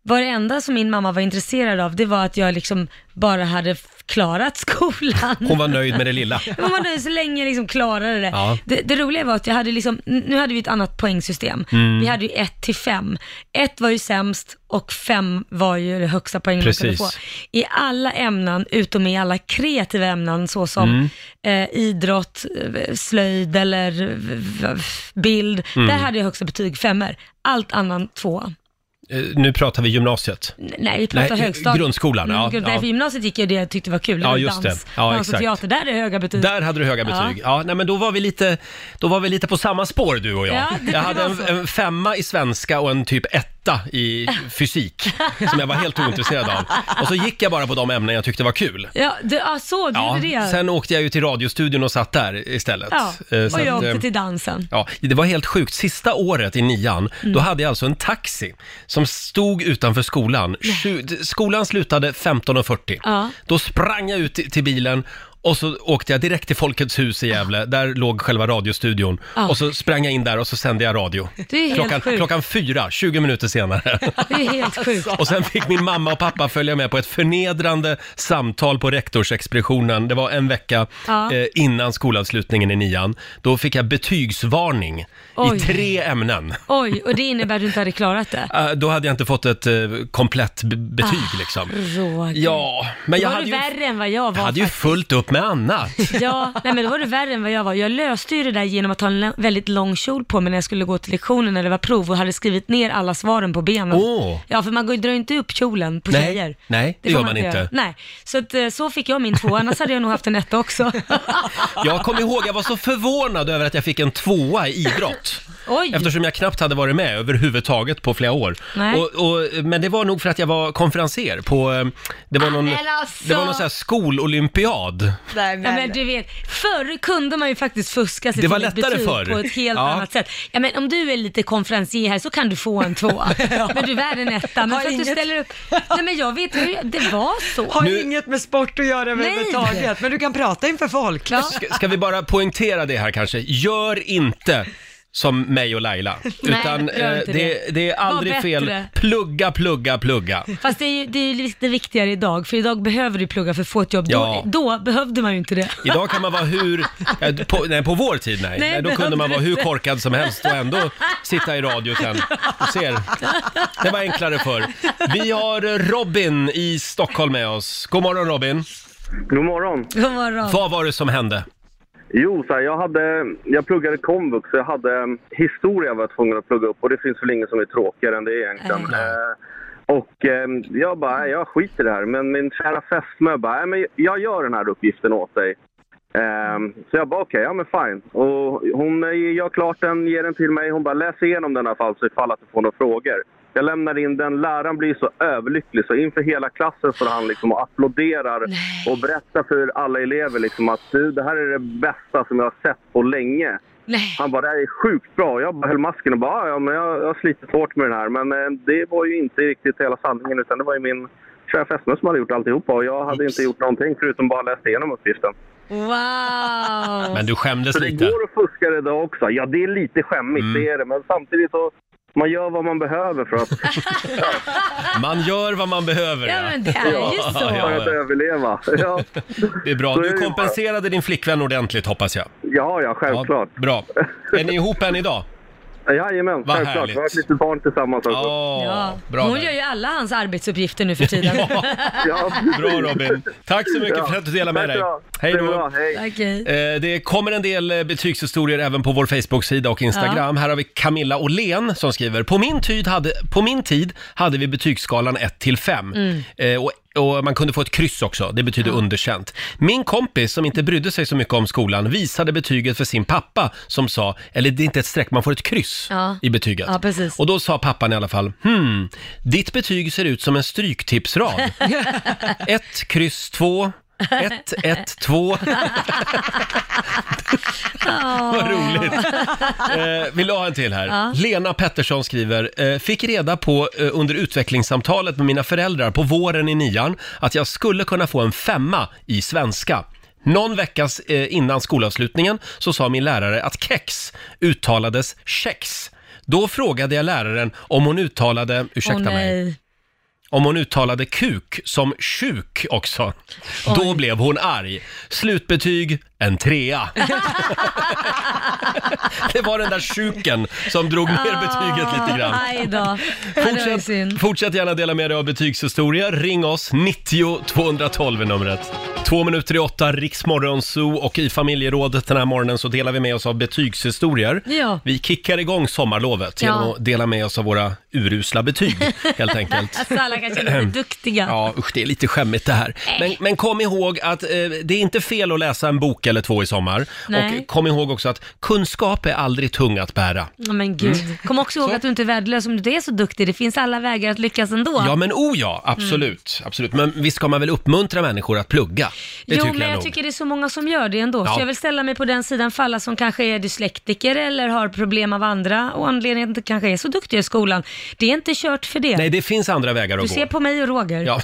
var det enda som min mamma var intresserad av, det var att jag liksom bara hade f- klarat skolan. Hon var nöjd med det lilla. Men man nöjd så länge jag liksom klarade det. Ja. det. Det roliga var att jag hade liksom, nu hade vi ett annat poängsystem. Mm. Vi hade ju 1 till 5. 1 var ju sämst och 5 var ju det högsta poängen man kunde Precis. få. I alla ämnen, utom i alla kreativa ämnen Mm. såsom eh, idrott, eh, slöjd eller v- v- bild. Mm. Där hade jag högsta betyg, femmor. Allt annat två. Eh, Nu pratar vi gymnasiet. N- Nej, vi pratar Nej, högstadiet. grundskolan, ja, grund- Nej, ja. för gymnasiet gick jag det jag tyckte var kul. Det Ja, var just det. dans, Ja, dans och exakt. teater. Där är höga betyg. Där hade du höga Ja. betyg. Ja, nej, men då var, vi lite, då var vi lite på samma spår du och jag. Ja, det- jag det hade var en, så. en femma i svenska och en typ etta i fysik som jag var helt ointresserad av. Och så gick jag bara på de ämnen jag tyckte var kul. Ja, du, ja så, du Ja, gjorde det. sen åkte jag ju till radiostudion och satt där istället. ja. Eh, så Och jag att, eh, åkte till dansen. Ja, det var helt sjukt. Sista året i nian, Mm. då hade jag alltså en taxi som stod utanför skolan. Tju- Skolan slutade 15.40. Ja. Då sprang jag ut i- till bilen och så åkte jag direkt till Folkets hus i Gävle. Där låg själva radiostudion. Ja. Och så sprang jag in där och så sände jag radio. Det är helt Klockan, sjukt. klockan fyra, 20 minuter senare. Det är helt sjukt. Och sen fick min mamma och pappa följa med på ett förnedrande samtal på rektorsexpeditionen. Det var en vecka Ja. eh, innan skolavslutningen i nian. Då fick jag betygsvarning i Oj. tre ämnen. Oj, och det innebär att du inte hade klarat det? Eh, då hade jag inte fått ett eh, komplett b- betyg Ah, liksom. Roger. Ja, men Då jag var hade du ju, värre än vad jag var jag hade ju faktiskt. fullt upp med annat. Ja, nej men då var du värre än vad jag var. Jag löste ju det där genom att ha en lä- väldigt lång kjol på mig när jag skulle gå till lektionen när det var prov och hade skrivit ner alla svaren på benen. Åh. Ja, för man går- drar ju inte upp kjolen på Nej, tjejer. nej, det får gör man inte. göra. Nej, så, att, eh, så fick jag min två, annars hade jag nog haft en etta också. Jag kommer ihåg, jag var så förvånad över att jag fick en tvåa i idrott. Oj! Eftersom jag knappt hade varit med överhuvudtaget på flera år. Nej. Och, och, men det var nog för att jag var konferenser på, eh, det Ah, var någon, men alltså. det var någon sån här skololympiad. Nej, men. Ja, men du vet, förr kunde man ju faktiskt fuska sig Det var till ett lättare betyg förr. på ett helt Ja. annat sätt. Ja, men om du är lite konferencier här så kan du få en tvåa. Men du är värd en etta. Men Har för att du inget- ställer upp... Nej, men jag vet hur det var så. Har Nu- inget med sport att göra överhuvudtaget, men du kan prata inför folk. Ja. Ska, ska vi bara poängtera det här kanske? Gör inte som mig och Laila. Utan gör eh, inte det, det. det är aldrig Var fel. bättre. Plugga, plugga, plugga. Fast det är ju det, är ju lite viktigare idag, för idag behöver du plugga för att få ett jobb. Ja. Då, då behövde man ju inte det. Idag kan man vara hur, eh, på, nej på vår tid nej, Nej, nej då behövde kunde man du vara hur inte. korkad som helst och ändå sitta i radio sen. Du ser, det var enklare förr. Vi har eh, Robin i Stockholm med oss. God morgon Robin. God morgon. God morgon. Vad var det som hände? Jo, så här, jag, hade, jag pluggade komvux så jag hade eh, historia var jag tvungen att plugga upp och det finns väl ingen som är tråkigare än det egentligen. Nej. Eh, och eh, jag bara, nej, jag skiter i det här. Men min kära fästmö bara, nej, men jag gör den här uppgiften åt dig. Eh, så jag bara, okej, ja men fine. Och hon eh, gör klart den, ger den till mig. Hon bara, läs igenom den i alla fall så ifall att du får några frågor. Jag lämnar in den, läraren blir så överlycklig så inför hela klassen står han liksom och applåderar och berättar för alla elever liksom att du, det här är det bästa som jag har sett på länge. Nej. Han bara, det här är sjukt bra. Jag bara höll masken och bara, "Ah, "Ja, ja, men jag, jag har slitit hårt med den här. Men eh, det var ju inte riktigt hela sanningen utan det var ju min kära fästmö som hade gjort alltihopa och jag hade inte gjort någonting förutom bara läst igenom uppgiften. Wow. Men du skämdes Så det lite. Mm. går att fuska det idag också. Ja, det är lite skämmigt, det är det. Men samtidigt så, man gör vad man behöver för att, Man gör vad man behöver. Ja, men det är ju så. för att överleva. Ja, Det är bra. Så är Du det ju kompenserade din flickvän ordentligt hoppas jag. ja, ja självklart. bra. Är ni ihop än idag? Jajamän, Vad självklart. härligt. Vi har ett litet barn tillsammans också. Ja, Ja. bra. Hon där. gör ju alla hans arbetsuppgifter nu för tiden. Ja, Bra Robin. Tack så mycket Ja. för att du delade med Tack dig. bra. Hej Det är bra, då. Hej. Okej. Eh, Det kommer en del eh, betygshistorier även på vår Facebook-sida och Instagram. Här har vi Camilla Åhlén som skriver, på min, tid hade, på min tid hade vi betygsskalan 1 till 5. Mm. Eh, Och och man kunde få ett kryss också, det betyder underkänt. Min kompis som inte brydde sig så mycket om skolan visade betyget för sin pappa som sa, eller det är inte ett streck, man får ett kryss Ja. i betyget. Ja, precis. Och då sa pappan i alla fall, hmm, ditt betyg ser ut som en stryktipsrad. 1, kryss 2, 1, 1, 2. Vad roligt. Eh, vill du ha en till här? Lena Pettersson skriver, eh, fick reda på eh, under utvecklingssamtalet med mina föräldrar på våren i nian att jag skulle kunna få en femma i svenska. Någon vecka eh, innan skolavslutningen så sa min lärare att kex uttalades kex. Då frågade jag läraren om hon uttalade, ursäkta Åh, mig, nej. om hon uttalade kuk som tjuk också. Då blev hon arg. Slutbetyg, en trea. det var den där tjuken som drog ner betyget lite grann. Aj då. Ja, Ah. det var ju synd. Fortsätt, fortsätt gärna dela med dig av betygshistoria. Ring oss, 90 212 är numret. Två minuter i åtta, Riksmorgon Zoo och i familjerådet den här morgonen så delar vi med oss av betygshistorier. Ja. Vi kickar igång sommarlovet Ja. genom att dela med oss av våra urusla betyg, helt enkelt. Alltså alla kanske är lite duktiga. Ja, usch, det är lite skämmigt det här. Men, men kom ihåg att eh, det är inte fel att läsa en bok eller två i sommar. Nej. Och kom ihåg också att kunskap är aldrig tung att bära. Ja, Men gud. Mm. Kom också ihåg att du inte är värdelös om du inte är så duktig. Det finns alla vägar att lyckas ändå. Ja, men oh ja, absolut. absolut. Men visst ska man väl uppmuntra människor att plugga? Det Mm. jo, tycker men jag, jag, nog. tycker det är så många som gör det ändå. Ja. Så jag vill ställa mig på den sidan för alla som kanske är dyslektiker eller har problem av andra och anledningen till att kanske är så duktiga i skolan. Det är inte kört för det. Nej, det finns andra vägar du att ser gå. på mig och Roger. Ja.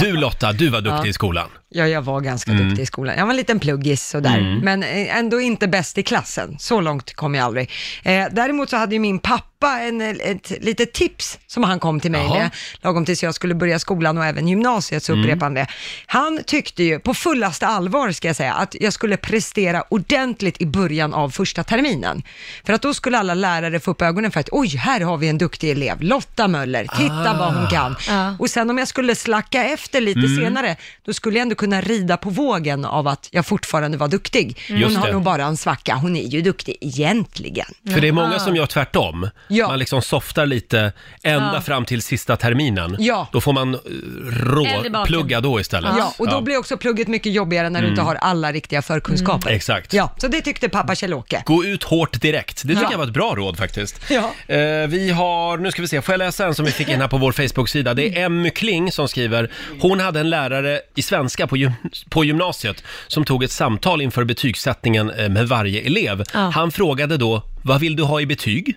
Du Lotta, du var duktig i skolan. Ja, jag var ganska duktig i skolan. Jag var en liten pluggis sådär, men eh, ändå inte bäst i klassen. Så långt kom jag aldrig. Eh, däremot så hade ju min pappa en, eh, ett litet tips som han kom till mig Jaha. med, lagom tills jag skulle börja skolan och även gymnasiet så upprepade han det. Han tyckte ju, på fullaste allvar ska jag säga, att jag skulle prestera ordentligt i början av första terminen. För att då skulle alla lärare få upp ögonen för att oj, här har vi en duktig elev, Lotta Möller, titta vad hon kan. Ja. Och sen om jag skulle slacka efter lite Mm. senare, då skulle jag ändå kunna rida på vågen av att jag fortfarande var duktig. Hon Mm. Just har det. nog bara en svacka, hon är ju duktig egentligen. För det är många som gör tvärtom. Ja. Man liksom softar lite ända Ja. fram till sista terminen. Ja. Då får man eh, Eld i baken. råplugga då istället. Ja, och då blir också plugget mycket jobbigare när du Mm. inte har alla riktiga förkunskaper. Exakt. Ja, så det tyckte pappa Kjell-Åke. Gå ut hårt direkt. Det tycker Ja. jag var ett bra råd faktiskt. Ja. Eh, vi har, nu ska vi se, får jag läsa en som vi fick in här på vår Facebook-sida? Det är Emmy Kling som skriver, hon hade en lärare i svenska på, gym- på gymnasiet som tog ett samtal inför betygssättningen eh, med varje elev. Ja. Han frågade då, vad vill du ha i betyg?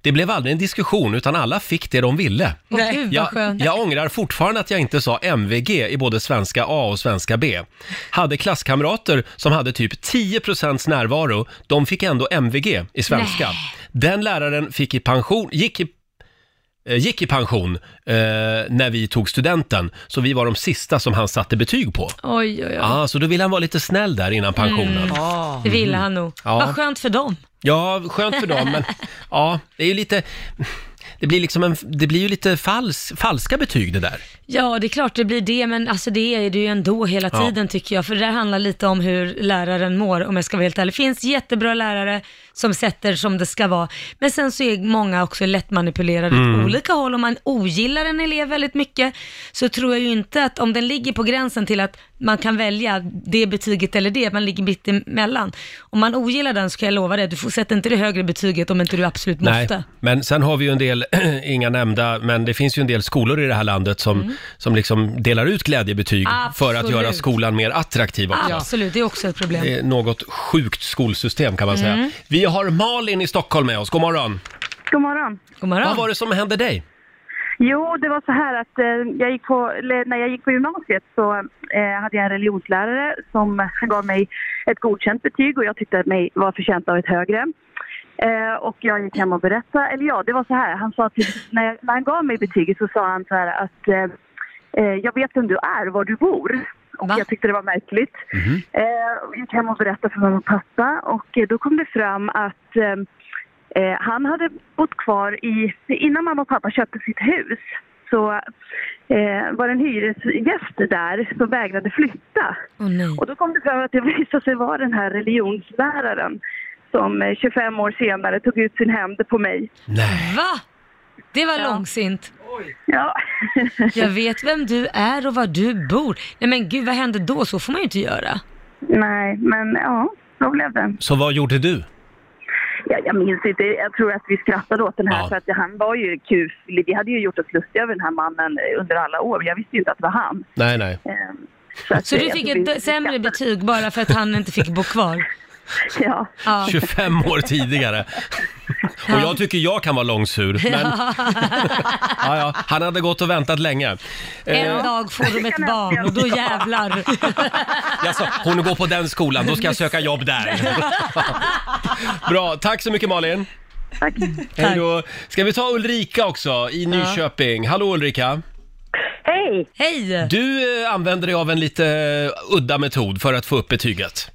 Det blev aldrig en diskussion utan alla fick det de ville. Åh, gud, vad Jag, skönt. jag ångrar fortfarande att jag inte sa MVG i både svenska A och svenska B. Hade klasskamrater som hade typ 10% närvaro, de fick ändå MVG i svenska. Den läraren fick i pension, gick i eh, gick i pension eh, när vi tog studenten, så vi var de sista som han satte betyg på. Oj, oj, oj. Ah, så då ville han vara lite snäll där Mm. innan pensionen. Det ville han nog. Ja. Vad skönt för dem. Ja, skönt för dem, men ja, det är ju lite... Det blir, liksom en, det blir ju lite fals, falska betyg det där. Ja, det är klart det blir det, men alltså det är det ju ändå hela Ja. tiden tycker jag. För det där handlar lite om hur läraren mår, om jag ska vara helt ärlig. Det finns jättebra lärare som sätter som det ska vara, men sen så är många också lättmanipulerade åt olika håll. Om man ogillar en elev väldigt mycket, så tror jag ju inte att om den ligger på gränsen till att man kan välja det betyget eller det, man ligger mitt emellan. Om man ogillar den så kan jag lova dig, du får sätta inte det högre betyget om inte du absolut måste. men sen har vi ju en del, inga nämnda, men det finns ju en del skolor i det här landet som, som liksom delar ut glädjebetyg för att Mm. Absolut. göra skolan mer attraktiv också. Absolut, det är också ett problem. Det är något sjukt skolsystem kan man Mm. säga. Vi har Malin i Stockholm med oss, god morgon. God morgon. God morgon. Vad var det som hände dig? Jo, det var så här att eh, jag gick på, eller när jag gick på gymnasiet så eh, hade jag en religionslärare som gav mig ett godkänt betyg och jag tyckte att mig var förtjänt av ett högre. Eh, och jag gick hem och berättade, eller ja, det var så här, han sa till, när, jag, när han gav mig betyget så sa han så här att eh, eh, jag vet vem du är, var du bor. Och Va? jag tyckte det var märkligt. Mhm. Eh, och gick hem och berättade för mamma och pappa och eh, då kom det fram att eh, Eh, han hade bott kvar i, innan mamma och pappa köpte sitt hus så eh, var det en hyresgäst där som vägrade flytta. Åh, nej. Och då kom det fram att det visade sig vara den här religionsläraren som eh, 25 år senare tog ut sin hämnd på mig. Nej. Va? Det var Ja. långsint. Ja. Jag vet vem du är och var du bor. Nej men gud, vad hände då? Så får man ju inte göra. Nej, men ja, så blev det. Så vad gjorde du? Jag, jag minns inte, jag tror att vi skrattade åt den här Ja. för att han var ju kul. Vi hade ju gjort oss lustiga över den här mannen under alla år. Jag visste ju inte att det var han. Nej, nej. Eh, att, Så eh, du fick jag tror vi- ett sämre betyg bara för att han inte fick bo kvar? Ja. Ja. 25 år tidigare. Och jag tycker jag kan vara långsur. Men... ja, ja. Han hade gått och väntat länge. eh, En dag får de ett barn och då jävlar. Jaså, hon går på den skolan, då ska jag söka jobb där. Bra, tack så mycket Malin. Tack. Hej då. Ska vi ta Ulrika också i Nyköping? Hallå Ulrika! Hej! Hej! Du eh, använder dig av en lite eh, udda metod för att få upp betyget.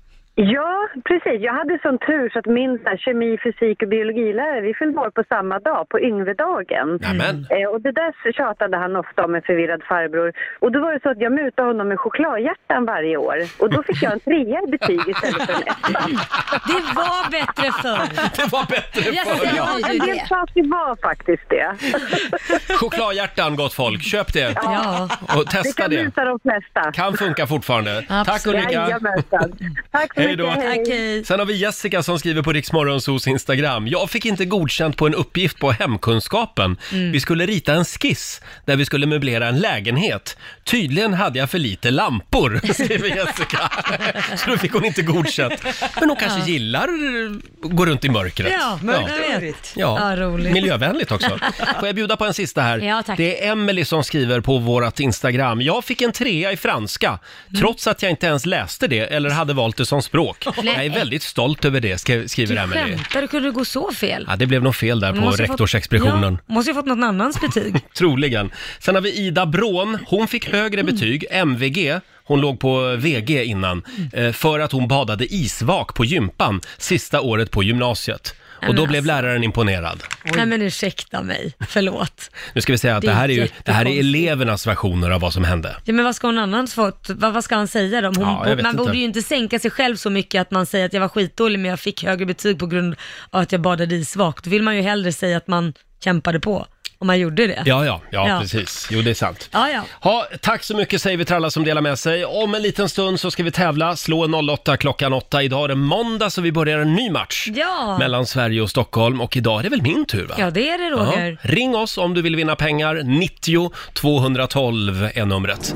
Ja, precis. Jag hade sån tur så att min så här, kemi, fysik och biologilärare, vi fyllde år på samma dag, på Yngvedagen. Nämen. Eh, och det där så tjatade han ofta om, en förvirrad farbror. Och då var det så att jag mutade honom med chokladhjärtan varje år. Och då fick jag en trea i betyg istället för en etta. Det var bättre förr. Det var bättre Jag förr! ja. säger ju En del det. sa att det var faktiskt det. Chokladhjärtan gott folk, köp det Ja. och Det testa kan det. muta de flesta. Kan funka fortfarande. Tack Absolut. Ulrika! Jajamensan. Tack så Hej då. mycket. Hej. Tack, hej. Sen har vi Jessica som skriver på Riksmorgonsos Instagram. Jag fick inte godkänt på en uppgift på hemkunskapen. Mm. Vi skulle rita en skiss där vi skulle möblera en lägenhet. Tydligen hade jag för lite lampor, skriver Jessica. Så då fick hon inte godkänt. Men hon kanske gillar att gå runt i mörkret. Ja, men jag vet. Ja, Ja, roligt. miljövänligt också. Får jag bjuda på en sista här? Ja, tack. Det är Emily som skriver på vårt Instagram. Jag fick en trea i franska, Mm. trots att jag inte ens läste det eller hade valt det som språk. Nej. Jag är väldigt stolt över det, skri- skriver Du Emily. skämtar, hur kunde det gå så fel? Ja, det blev nog fel där Du på måste ha fått- rektorsexpeditionen. Ja, måste ju ha fått någon annans betyg. Troligen. Sen har vi Ida Brån. Hon fick högre Mm. betyg, MVG. Hon låg på VG innan, Mm. eh, för att hon badade isvak på gympan sista året på gymnasiet. Och men då alltså. blev läraren imponerad. Nej men ursäkta mig, förlåt. Nu ska vi säga att det, Det är här är ju, det här är jättekonstigt. elevernas versioner av vad som hände. Ja, men vad ska hon annars fått? Vad, vad ska han säga då? Hon, Ja, jag vet man inte. borde ju inte sänka sig själv så mycket att man säger att jag var skitdålig men jag fick högre betyg på grund av att jag badade i svagt. Då vill man ju hellre säga att man kämpade på, om man gjorde det. Ja, ja, ja, Ja. precis. Jo, det är sant. Ja, ja. Ha, tack så mycket säger vi till alla som delar med sig. Om en liten stund så ska vi tävla. Slå en 08 klockan 8. Idag är det måndag så vi börjar en ny match Ja. mellan Sverige och Stockholm. Och idag är det väl min tur va? Ja, det är det Roger. Ja. Ring oss om du vill vinna pengar. 90 212 är numret.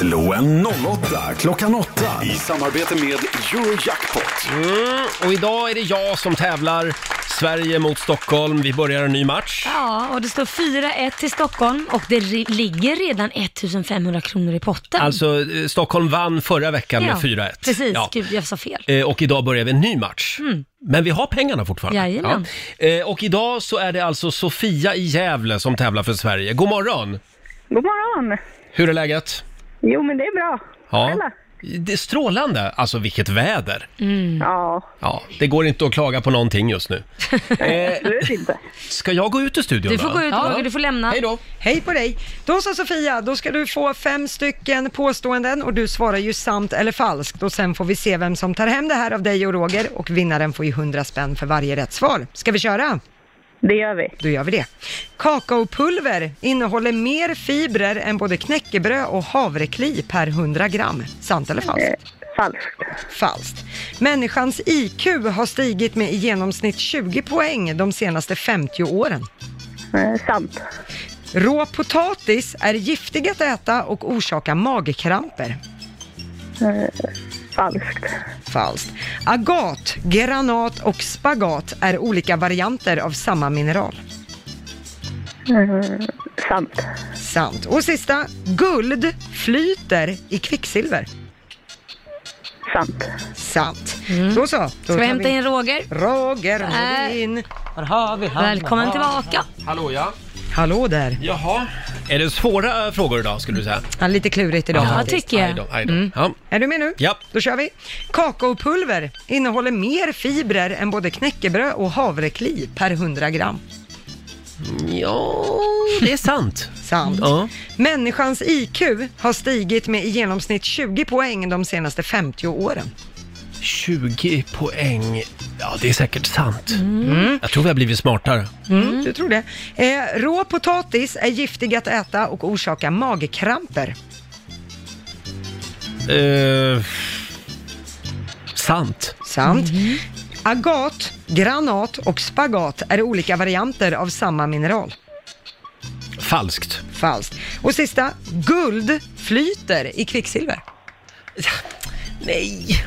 Slå en 08 klockan 8 i samarbete med Eurojackpot. Mm, och idag är det jag som tävlar. Sverige mot Stockholm. Vi börjar en ny match. Ja, och det står 4-1 till Stockholm och det ri- ligger redan 1500 kronor i potten. Alltså, eh, Stockholm vann förra veckan med 4-1. Precis, Ja. gud jag sa fel. Mm. Eh, Och idag börjar vi en ny match. Men vi har pengarna fortfarande. Jajamän. Ja. Eh, Och idag så är det alltså Sofia i Gävle som tävlar för Sverige. God morgon! God morgon! Hur är läget? Jo, men det är bra. Snälla. Det är strålande. Alltså vilket väder! Mm. Ja, Ja, det går inte att klaga på någonting just nu. Eh, absolut inte. ska jag gå ut ur studion Du får då? gå ut Ja. Roger, du får lämna. Hej då! Hej på dig! Då så Sofia, då ska du få fem stycken påståenden och du svarar ju sant eller falskt och sen får vi se vem som tar hem det här av dig och Roger och vinnaren får ju 100 spänn för varje rätt svar. Ska vi köra? Det gör vi. Då gör vi det. Kakaopulver innehåller mer fibrer än både knäckebröd och havrekli per 100 gram. Sant eller falskt? Eh, Falskt. Falskt. Människans IQ har stigit med i genomsnitt 20 poäng de senaste 50 åren. Eh, sant. Rå potatis är giftig att äta och orsakar magkramper. Eh, Falskt. Falskt. Agat, granat och spagat är olika varianter av samma mineral. Sant. Sant. Och sista, guld flyter i kvicksilver. Sant. Sant. Då så. Då Mm. Ska vi hämta in Roger? Roger Äh. Molin. Välkommen tillbaka. Hallå ja! Hallå där. Jaha. Är det svåra eh, frågor idag skulle du säga? Ja, lite klurigt idag Ja, faktiskt. tycker Aj jag. då, aj då. Ja. Är du med nu? Ja. Då kör vi. Kakaopulver innehåller mer fibrer än både knäckebröd och havrekli per 100 gram. ja, det är sant. Sant. Ja. Människans IQ har stigit med i genomsnitt 20 poäng de senaste 50 åren. 20 poäng. Ja, det är säkert sant. Mm. Jag tror vi har blivit smartare. Mm. Du tror det? Eh, rå potatis är giftig att äta och orsakar magkramper. Eh, sant. Sant. Agat, granat och spagat är olika varianter av samma mineral. Falskt. Falskt. Och sista, guld flyter i kvicksilver. Nej.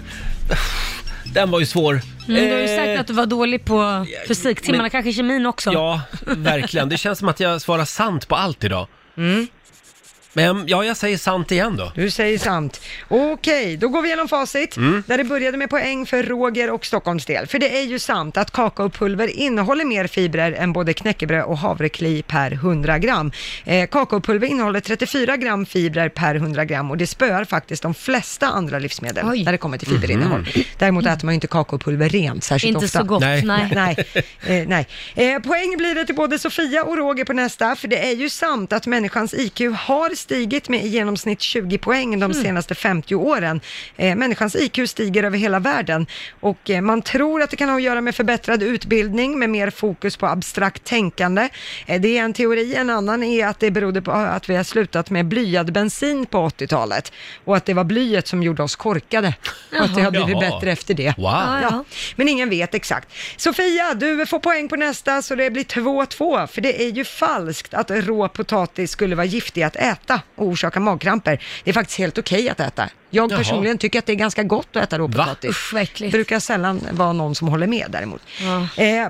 Den var ju svår. Mm, du har ju Eh, sagt att du var dålig på fysiktimmarna, men- kanske kemin också. Mm. Ja, verkligen. Det känns som att jag svarar sant på allt idag. Men ja, jag säger sant igen då. Du säger sant. Okej, då går vi igenom facit. Mm. Där det började med poäng för Roger och Stockholms del. För det är ju sant att kakaopulver innehåller mer fibrer än både knäckebröd och havrekli per 100 gram. Eh, kakaopulver innehåller 34 gram fibrer per 100 gram och det spöar faktiskt de flesta andra livsmedel Oj. när det kommer till fiberinnehåll. Däremot äter man ju inte kakaopulver rent särskilt Inte ofta. så gott, Mhm. Nej. nej. Nej, eh, nej. Eh, poäng blir det till både Sofia och Roger på nästa, för det är ju sant att människans IQ har stigit med i genomsnitt 20 poäng de senaste 50 åren. Eh, människans IQ stiger över hela världen och eh, man tror att det kan ha att göra med förbättrad utbildning med mer fokus på abstrakt tänkande. Eh, det är en teori, en annan är att det berodde på att vi har slutat med blyad bensin på 80-talet och att det var blyet som gjorde oss korkade och att det har blivit Jaha. bättre efter det. Wow. Ja, Ja, men ingen vet exakt. Sofia, du får poäng på nästa så det blir 2-2, för det är ju falskt att rå potatis skulle vara giftig att äta och orsaka magkramper. Det är faktiskt helt okej att äta. Jag Jaha. personligen tycker att det är ganska gott att äta råpotatis. Usch, vad äckligt. Brukar sällan vara någon som håller med däremot. Ja. Eh,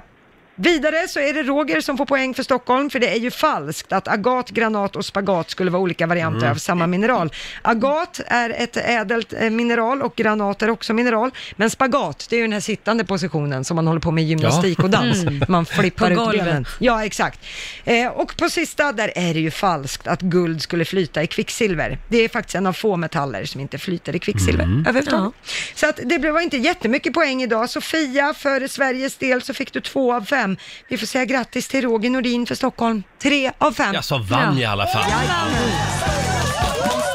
Vidare så är det Roger som får poäng för Stockholm, för det är ju falskt att agat, granat och spagat skulle vara olika varianter Mm. av samma mineral. Agat är ett ädelt eh, mineral och granat är också mineral, men spagat, det är ju den här sittande positionen som man håller på med i gymnastik och dans. Man flippar Mm. På ut golvet. benen. Ja, exakt. Eh, och på sista, där är det ju falskt att guld skulle flyta i kvicksilver. Det är faktiskt en av få metaller som inte flyter i kvicksilver Mm. överhuvudtaget. Så att det blev var inte jättemycket poäng idag. Sofia, för Sveriges del så fick du två av fem. Vi får säga grattis till Roger Nordin för Stockholm. Tre av fem. Jag som vann Ja. i alla fall.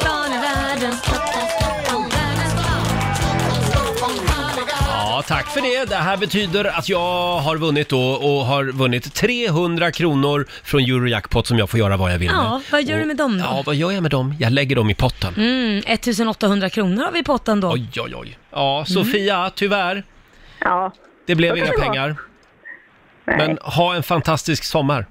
Stan i världen. Ja, tack för det. Det här betyder att jag har vunnit då och har vunnit 300 kronor från Eurojackpot som jag får göra vad jag vill med. Ja, vad gör du Och- med dem då? Ja, vad gör jag med dem? Jag lägger dem i potten. Mm, 1800 kronor har vi i potten då. Oj, oj, oj. Ja, Mm. Sofia, tyvärr. Ja, Det blev Vad kan inga det vara? pengar. nej. Men ha en fantastisk sommar.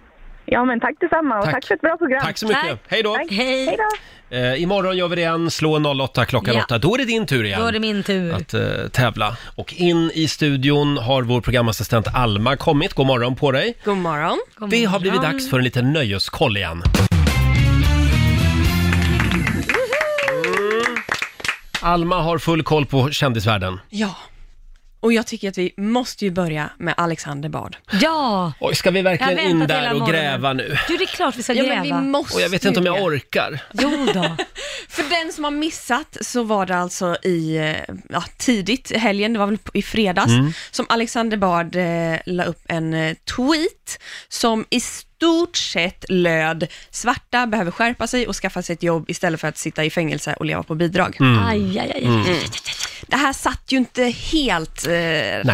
ja, men tack detsamma och Tack. tack, för ett bra program. Tack så mycket. Tack. Hej då. Tack. Hej. Hej då. Eh, imorgon gör vi det igen. Slå en 08 klockan Ja. 8. Då är det din tur igen. Då är det min tur. att eh, tävla. Och in i studion har vår programassistent Alma kommit. God morgon på dig. God morgon. God Det har blivit morgon. dags för en liten nöjeskoll igen. Mm. Alma har full koll på kändisvärlden. Ja. Och jag tycker att vi måste ju börja med Alexander Bard. Ja! Oj, ska vi verkligen Jag har väntat in där hela och morgonen. gräva nu? Du, det är klart vi ska Ja, gräva. men vi måste Och jag vet inte om ju jag det. orkar. Jo då. För den som har missat så var det alltså i, eh, ja, tidigt i helgen, det var väl i fredags, Mm. som Alexander Bard eh, la upp en eh, tweet som i stort sett löd svarta behöver skärpa sig och skaffa sig ett jobb istället för att sitta i fängelse och leva på bidrag. Mm. Aj, aj, aj, aj. Det här satt ju inte helt eh,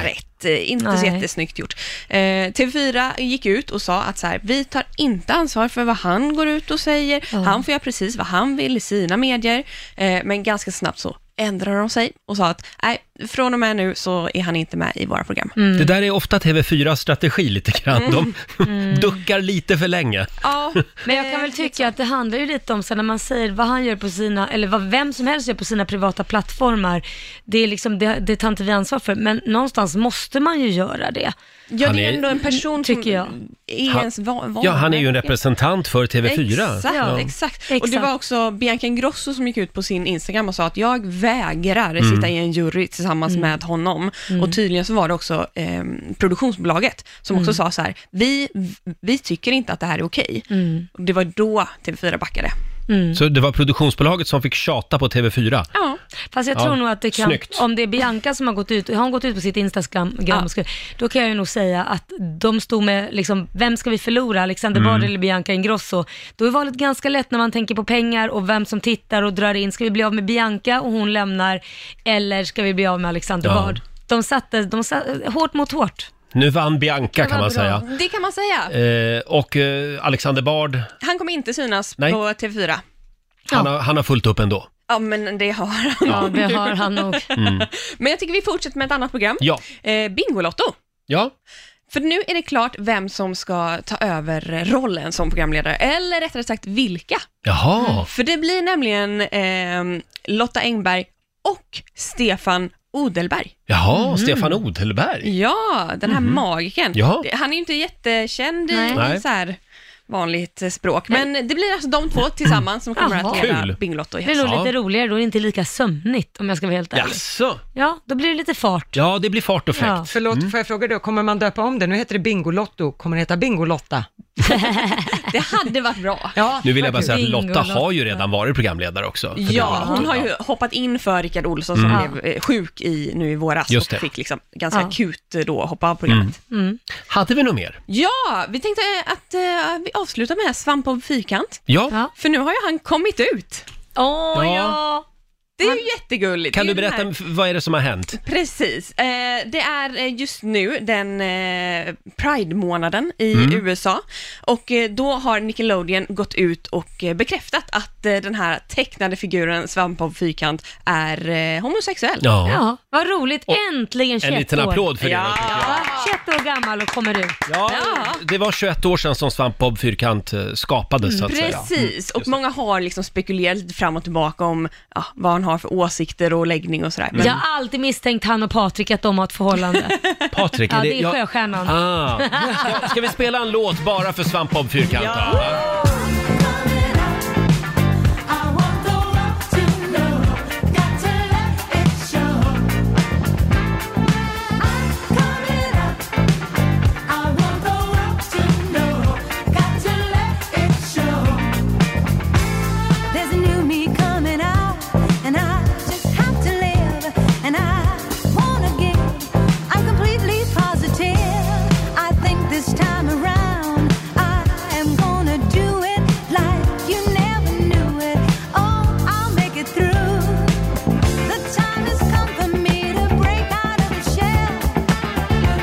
rätt, eh, inte så Nej. jättesnyggt gjort. Eh, TV4 gick ut och sa att så här, vi tar inte ansvar för vad han går ut och säger, han får göra precis vad han vill i sina medier, eh, men ganska snabbt så ändrade de sig och sa att nej, från och med nu så är han inte med i våra program. Det där är ofta TV4s strategi lite grann. Mm. De Mm. duckar lite för länge. Ja, Eh, Men jag kan väl tycka att det handlar ju lite om så när man säger vad han gör på sina, eller vad vem som helst gör på sina privata plattformar, det, är liksom, det, det tar inte vi ansvar för, men någonstans måste man ju göra det. ja, Han det är- är ändå en person som tycker jag. är Han- ens van, Ja, han är ju en representant för TV4. Exakt, Ja. exakt. Och det Exakt. var också Bianca Ingrosso som gick ut på sin Instagram och sa att jag vägrar Mm. sitta i en jury tillsammans Mm. med honom. Och tydligen så var det också eh, produktionsbolaget som Mm. också sa så här, vi, vi tycker inte att det här är okej. Mm. Och det var då TV4 backade. Så det var produktionsbolaget som fick tjata på TV4. Ja, Fast jag Ja, tror nog att det kan, snyggt. om det är Bianca som har gått ut, har hon gått ut på sitt Instagram, Ja. skulle- då kan jag ju nog säga att de stod med, liksom, vem ska vi förlora, Alexander Mm. Bard eller Bianca Ingrosso? Då är valet ganska lätt när man tänker på pengar och vem som tittar och drar in. Ska vi bli av med Bianca och hon lämnar, eller ska vi bli av med Alexander Ja. Bard? De satte, de satte hårt mot hårt. Nu vann Bianca kan var man bra. säga. det kan man säga. Eh, och eh, Alexander Bard, Han kommer inte synas Nej. på TV4. han, har, han har fullt upp ändå. Ja, men det har han. Ja, det har han nog. Men jag tycker vi fortsätter med ett annat program. Mm. Ja, Eh, Bingolotto. ja. För nu är det klart vem som ska ta över rollen som programledare, eller rättare sagt vilka. Mm. Jaha. För det blir nämligen eh, Lotta Engberg och Stefan Odelberg. Jaha, Mhm. Stefan Odelberg. Mhm. Ja, den här magikern. Ja. Det- Han är ju inte jättekänd i Nej. i Nej. så här vanligt eh, språk. Men det blir alltså de två tillsammans som kommer Jaha. att leda Kul. Bingolotto i Det är nog höst. lite roligare, då är det inte lika sömnigt om jag ska vara helt ärlig. Jaså? Ja, då blir det lite fart. Ja, det blir fart och Mm. fläkt. Ja. Förlåt, får jag fråga då, kommer man döpa om det? Nu heter det Bingolotto, kommer det heta Bingolotta? Det hade varit bra. Ja, Nu vill jag bara säga att Bingo, Lotta har ju redan varit programledare också. för Ja, Bingolotto. hon har ju hoppat in för Rickard Olsson som Mm. blev eh, sjuk i, nu i våras Just det. och fick liksom ganska Ja. akut eh, då hoppa av programmet. Mm. Hade vi något mer? Ja, vi tänkte eh, att eh, vi avslutar med Svamp om fyrkant. Ja. Ja. För nu har ju han kommit ut. Åh, Ja. ja. Det är ju jättegulligt. Kan Det du är ju den berätta, här- f- vad är det som har hänt? Precis. Eh, Det är eh, just nu den eh, Pride-månaden i Mm. USA och eh, då har Nickelodeon gått ut och eh, bekräftat att eh, den här tecknade figuren Svamp av Fyrkant är eh, homosexuell. Ja. Ja, vad roligt. Äntligen 21 En liten år. applåd för det. då, Ja. tycker jag. Ja, 21 år gammal och kommer ut. Ja, Det var 21 år sedan som Svamp Bob Fyrkant eh, skapades så att säga. Mm. Precis, och många har liksom spekulerat lite fram och tillbaka om ja, vad han har för åsikter och läggning och sådär. Men Jag har alltid misstänkt han och Patrik att de har ett förhållande. Patrik, ja, det är jag- Sjöstjärnan. Ah. Ska, ska vi spela en låt bara för Svamp Bob Fyrkant? då, va? There's a new me coming out, and I just have to live, and I wanna give. I'm completely positive. I think this time around, I am gonna do it like you never knew it. Oh, I'll make it through. The time has come for me to break out of the shell.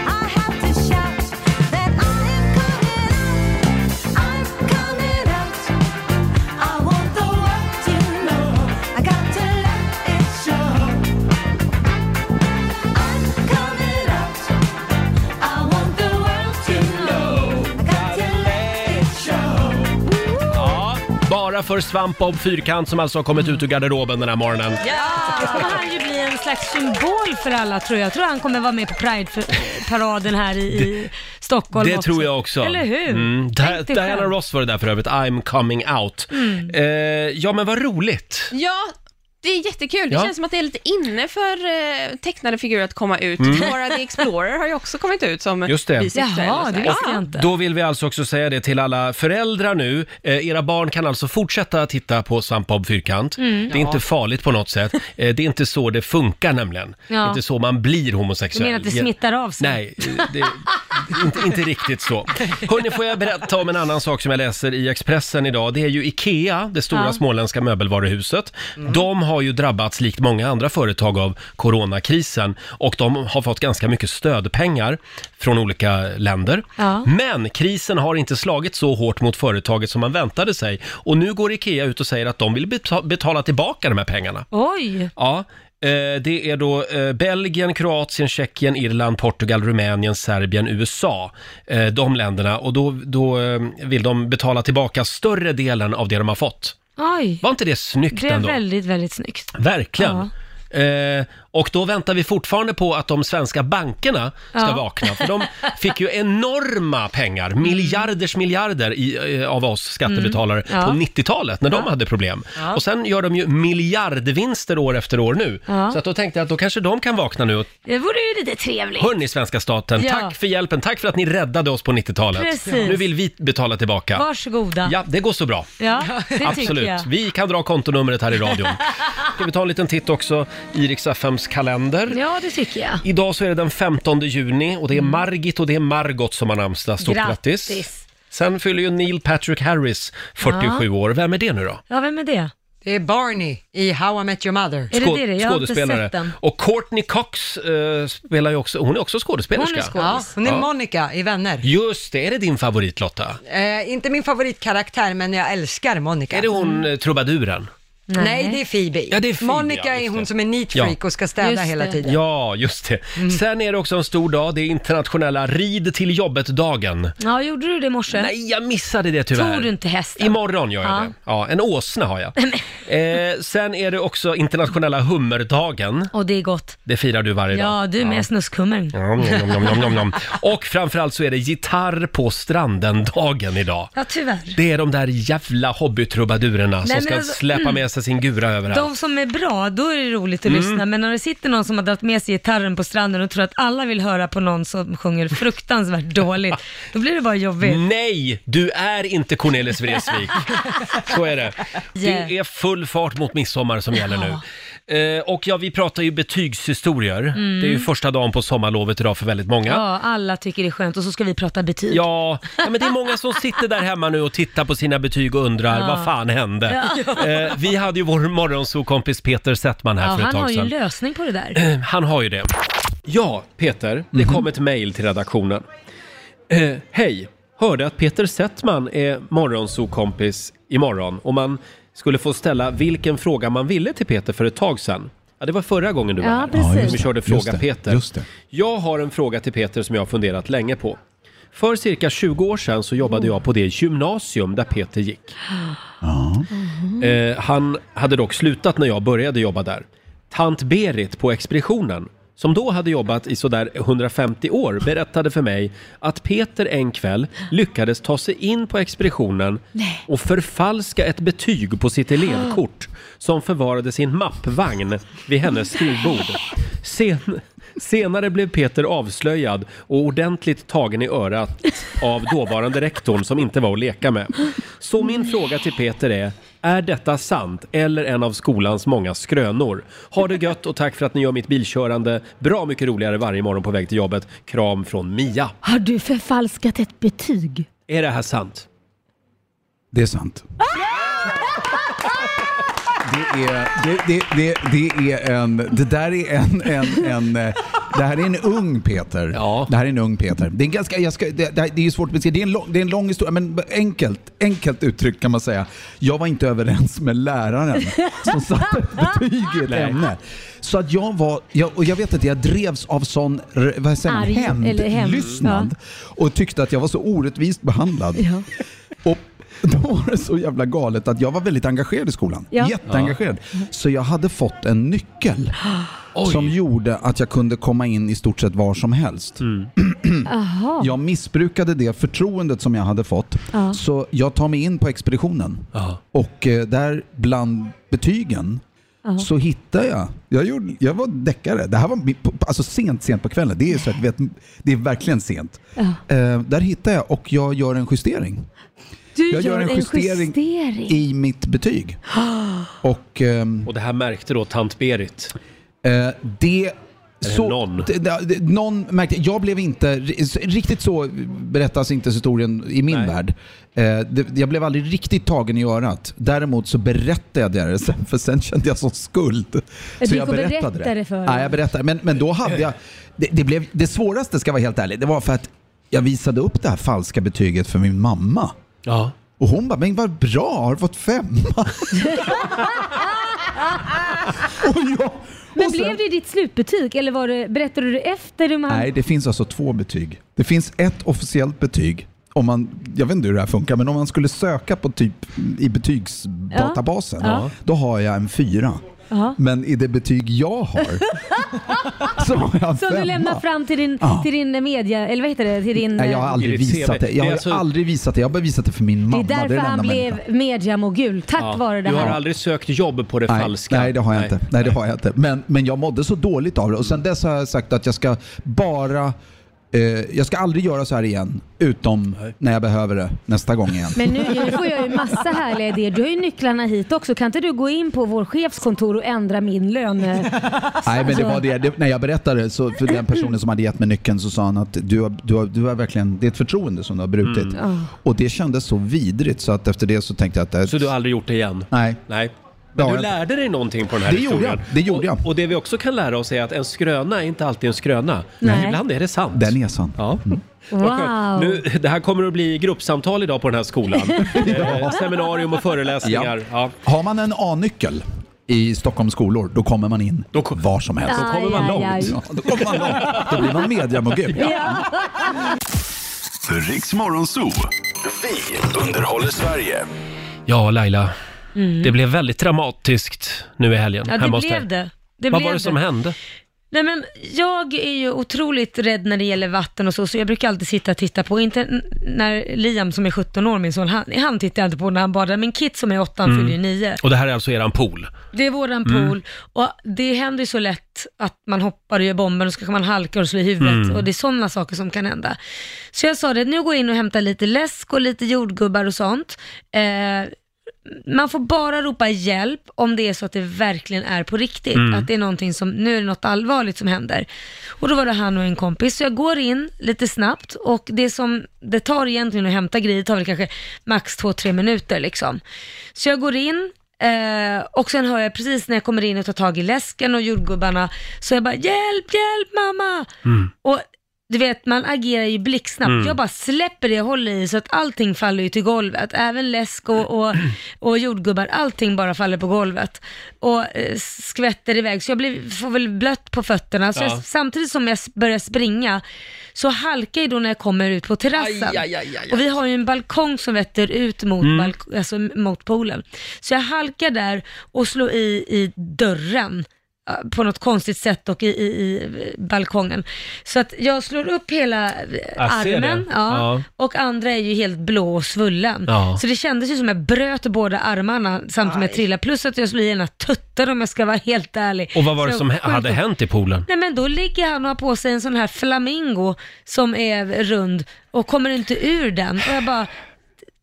I have to shout that I am coming out. I'm coming out. I want the world to know. I got to let it show. I'm coming out. I want the world to know. I got to let it show. Ja, bara för Svamp Bob Fyrkant som alltså har kommit ut ur garderoben den här morgonen. Då kommer han ju bli en slags symbol för alla tror jag. Jag tror han kommer vara med på Pride-paraden här i, i Stockholm Det också. tror jag också. Eller hur? Mm. Di- Tänk dig Diana själv. Ross var det där för övrigt, I'm coming out. Mm. Eh, ja men vad roligt. Ja, det är jättekul. Det Ja. känns som att det är lite inne för eh, tecknade figurer att komma ut. Mm. Dora the Explorer har ju också kommit ut som Just det. bisexuell och Jaha, sådär. det visste jag Ja. inte. Då vill vi alltså också säga det till alla föräldrar nu. Eh, era barn kan alltså fortsätta att titta på Svamp Bob Fyrkant. Mm. Det är Ja. inte farligt på något sätt. Eh, det är inte så det funkar nämligen. Ja. Det är inte så man blir Du homosexuell. menar att det smittar av sig? Nej, det, inte, inte riktigt så. Hörni, får jag berätta om en annan sak som jag läser i Expressen idag. Det är ju IKEA, det stora Ja. Mm. småländska möbelvaruhuset. De har ju drabbats, likt många andra företag, av coronakrisen och de har fått ganska mycket stödpengar från olika länder. Ja. Men krisen har inte slagit så hårt mot företaget som man väntade sig och nu går IKEA ut och säger att de vill beta- betala tillbaka de här pengarna. Oj! Ja, eh, det är då eh, Belgien, Kroatien, Tjeckien, Irland, Portugal, Rumänien, Serbien, USA. eh, De länderna. Och då, då eh, vill de betala tillbaka större delen av det de har fått. Oj! Var inte det snyggt Det är ändå? väldigt, väldigt snyggt. Verkligen. Eh, och då väntar vi fortfarande på att de svenska bankerna ska Ja. vakna. För de fick ju enorma pengar, miljarders miljarder i, eh, av oss skattebetalare Mm. Ja. på 90-talet när de hade problem. Ja. Och sen gör de ju miljardvinster år efter år nu. Ja. Så att då tänkte jag att då kanske de kan vakna nu. Och, Det vore ju lite trevligt. hörni svenska staten, Ja. tack för hjälpen, tack för att ni räddade oss på 90-talet. Precis. Nu vill vi betala tillbaka. Varsågoda. Ja, det går så bra. Ja, det tycker Absolut. jag. Vi kan dra kontonumret här i radion. Ska vi ta en liten titt också i Rix FMs kalender? Ja, det tycker jag. Idag så är det den 15 juni och det är Margit och det är Margot som har namnsdag. Stort grattis. Grattis. Sen fyller ju Neil Patrick Harris 47 Ja. år. Vem är det nu då? Ja, vem är det? Det är Barney i How I Met Your Mother. Skå- skådespelare. Och Courtney Cox eh, spelar ju också, hon är också skådespelerska. Ja, hon är Ja. Monica i Vänner. Just det, är det din favorit Lotta? Eh, inte min favoritkaraktär, men jag älskar Monica. Är det hon eh, trubaduren? Nej. det är Phoebe. Ja, det är Phoebe, Monica ja, är just hon det. som är neat Ja. freak och ska städa hela tiden. Ja, just det. Sen är det också en stor dag. Det är internationella rid till jobbet-dagen. Ja, gjorde du det i morse? Nej, jag missade det tyvärr. Tog du inte hästen? Imorgon gör jag Ja. det. Ja, en åsna har jag. eh, sen är det också internationella hummerdagen. Och det är gott. Det firar du varje dag. Ja, du med snuskhummern. Nom, nom, nom, nom, nom, nom. Och framförallt så är det gitarr på stranden-dagen idag. Ja, tyvärr. Det är de där jävla hobbytrubadurerna Nej, som men ska alltså, släpa mm. med sig sin gura överallt. De som är bra, då är det roligt att Mm. lyssna. Men när det sitter någon som har dragit med sig gitarren på stranden och tror att alla vill höra på någon som sjunger fruktansvärt dåligt, då blir det bara jobbigt. Nej, du är inte Cornelis Vreeswijk. Så är det. Yeah. Det är full fart mot midsommar som gäller nu. Eh, och ja, vi pratar ju betygshistorier. Mm. Det är ju första dagen på sommarlovet idag för väldigt många. Ja, alla tycker det är skönt och så ska vi prata betyg. Ja, ja, men det är många som sitter där hemma nu och tittar på sina betyg och undrar Ja. vad fan hände? Ja. Eh, vi hade ju vår morgonsokompis Peter Settman här Ja, för ett han har tag ju en sedan. lösning på det där. Eh, Han har ju det. Ja, Peter, det Mhm. kom ett mejl till redaktionen. Eh, hej! Hörde att Peter Settman är morgonsokompis imorgon och man skulle få ställa vilken fråga man ville till Peter för ett tag sedan. Ja, det var förra gången du var Ja, här. precis. Ja, just Vi det. körde Just Fråga det. Peter. Just det. Jag har en fråga till Peter som jag har funderat länge på. För cirka 20 år sedan så Mm. jobbade jag på det gymnasium där Peter gick. Eh, han hade dock slutat när jag började jobba där. Tant Berit på expeditionen, som då hade jobbat i sådär 150 år, berättade för mig att Peter en kväll lyckades ta sig in på expeditionen Nej. och förfalska ett betyg på sitt elevkort som förvarades i en mappvagn vid hennes skrivbord. Sen, senare blev Peter avslöjad och ordentligt tagen i örat av dåvarande rektorn som inte var att leka med. Så min fråga till Peter är, är detta sant eller en av skolans många skrönor? Ha det gött och tack för att ni gör mitt bilkörande bra mycket roligare varje morgon på väg till jobbet. Kram från Mia. Har du förfalskat ett betyg? Är det här sant? Det är sant. Det är, det, det, det, det är en, det där är en, en, en, eh, det här är en ung Peter. Det här är en ung Peter. Det är en ganska, jag ska, det, det här- det är ju svårt att beskriva, det är en lång, det är en lång historia, men enkelt, enkelt uttryckt kan man säga. Jag var inte överens med läraren som satte ett betyg i ett ämne. Så att jag var, jag, och jag vet inte, jag drevs av sån, r- vad säger man, Arg eller hämnd, hämndlystnad och tyckte att jag var så orättvist behandlad. Och då var det så jävla galet att jag var väldigt engagerad i skolan. Ja. Jätteengagerad. Så jag hade fått en nyckel som gjorde att jag kunde komma in i stort sett var som helst. Aha. Jag missbrukade det förtroendet som jag hade fått. Ja. Så jag tar mig in på expeditionen och eh, där bland betygen Ja. så hittar jag, jag, gjorde, jag var deckare, det här var mi- på- alltså sent, sent på kvällen, det är, så att, vet, det är verkligen sent. Ja. Eh, där hittar jag och jag gör en justering. Du jag gör en justering. i mitt betyg. Och, och det här märkte då tant Berit? det... Eh, Så, någon? Det, det, det- någon märkte, jag blev inte, riktigt så berättas inte historien i min värld. Eh, det, jag blev aldrig riktigt tagen i örat. Däremot så berättade jag det, sen, för sen kände jag sån skuld. Jag så gick jag och berättade berättade det. för Nej, jag berättade. Men, men då hade jag, det, det, blev, det svåraste ska jag vara helt ärlig, det var för att jag visade upp det här falska betyget för min mamma. Ja. Och hon bara, men vad bra, har du fått femma? och jag, Men blev det ditt slutbetyg eller var det, berättade du det efter? Du man... Nej, det finns alltså två betyg. Det finns ett officiellt betyg. Om man, jag vet inte hur det här funkar, men om man skulle söka på typ i betygsdatabasen, Ja. Ja. då har jag en fyra. Ja. Men i det betyg jag har så har jag en Som du femma. lämnar fram till din, Ja. till din media, eller vad heter det? Till din, Nej, jag har eh, aldrig visat det. Jag har ju aldrig visat det. Jag har bara visat det för min det mamma. är därför den han enda blev mediamogul, tack vare det Du har här. aldrig sökt jobb på det Nej, falska? Nej, det har jag inte. Nej, det har jag inte. Men, men jag mådde så dåligt av det och sen dess har jag sagt att jag ska bara eh, jag ska aldrig göra så här igen, utom när jag behöver det nästa gång igen. Men nu, nu får jag ju massa härliga idéer. Du har ju nycklarna hit också. Kan inte du gå in på vår chefskontor och ändra min lön? Mm. Nej, men det var det. det när jag berättade så för den personen som hade gett mig nyckeln så sa han att du har, du har, du har verkligen, det är ett förtroende som du har brutit. Mm. Ah. Och det kändes så vidrigt så att efter det så tänkte jag att det här, Så du har aldrig gjort det igen? Nej. Nej. Men Det har du jag inte. lärde dig någonting på den här Det gjorde historien? jag. Det gjorde jag. Och, och det vi också kan lära oss är att en skröna är inte alltid en skröna. Nej. Ibland är det sant. den är sann. Mm. Ja. Vad skönt. Wow. Nu, det här kommer att bli gruppsamtal idag på den här skolan. Eh, Seminarium och föreläsningar. Ja. Har man en A-nyckel i Stockholms skolor, då kommer man in var som helst. Då kommer man Aj, aj, långt. aj. Ja, då kommer man långt. Då blir man mediamogul. Riks Morgonzoo. Vi underhåller Sverige. Ja, Laila. Mm. Det blev väldigt dramatiskt nu i helgen Ja, det hemma hos blev dig. det. Det Vad blev var det som det. hände? Nej men jag är ju otroligt rädd när det gäller vatten och så, så jag brukar alltid sitta och titta på, inte n- när Liam som är 17 år, min son, han, han tittar jag alltid på när han badar, men Kit som är 8, han Mm. fyller ju 9. Och det här är alltså eran pool? Det är våran Mm. pool och det händer ju så lätt att man hoppar och gör bomber och så kan man halka och slå i huvudet Mm. och det är sådana saker som kan hända. Så jag sa det, nu går jag in och hämtar lite läsk och lite jordgubbar och sånt. Eh, man får bara ropa hjälp om det är så att det verkligen är på riktigt. Mm. Att det är någonting som, nu är det något allvarligt som händer. Och då var det han och en kompis, så jag går in lite snabbt och det som det tar egentligen att hämta grejer tar väl kanske max två tre minuter liksom. Så jag går in, Eh, och sen hör jag precis när jag kommer in och tar tag i läsken och jordgubbarna, så jag bara hjälp, hjälp mamma! Mm. Och du vet, man agerar ju blixtsnabbt. Mm. Jag bara släpper det jag håller i så att allting faller ju till golvet. Även läsk och, och, och jordgubbar, allting bara faller på golvet. Och eh, skvätter iväg, så jag blir, får väl blött på fötterna. Så Ja. jag, samtidigt som jag s- börjar springa, så halkar jag då när jag kommer ut på terrassen. Aj, aj, aj, aj. Och vi har ju en balkong som vetter ut mot, Mm. balk- alltså, mot poolen. Så jag halkar där och slår i, i dörren eh, på något konstigt sätt och i, i, i balkongen. Så att jag slår upp hela eh, Jag ser armen det. ja, Ja. och andra är ju helt blå och svullen. Ja. Så det kändes ju som jag bröt båda armarna samtidigt som jag trillade. Plus att jag slog i ena tutten om jag ska vara helt ärlig. Och vad var Så det som sjukt- hä- hade hänt i poolen? Nej men då ligger han och har på sig en sån här flamingo som är rund och kommer inte ur den. Och jag bara,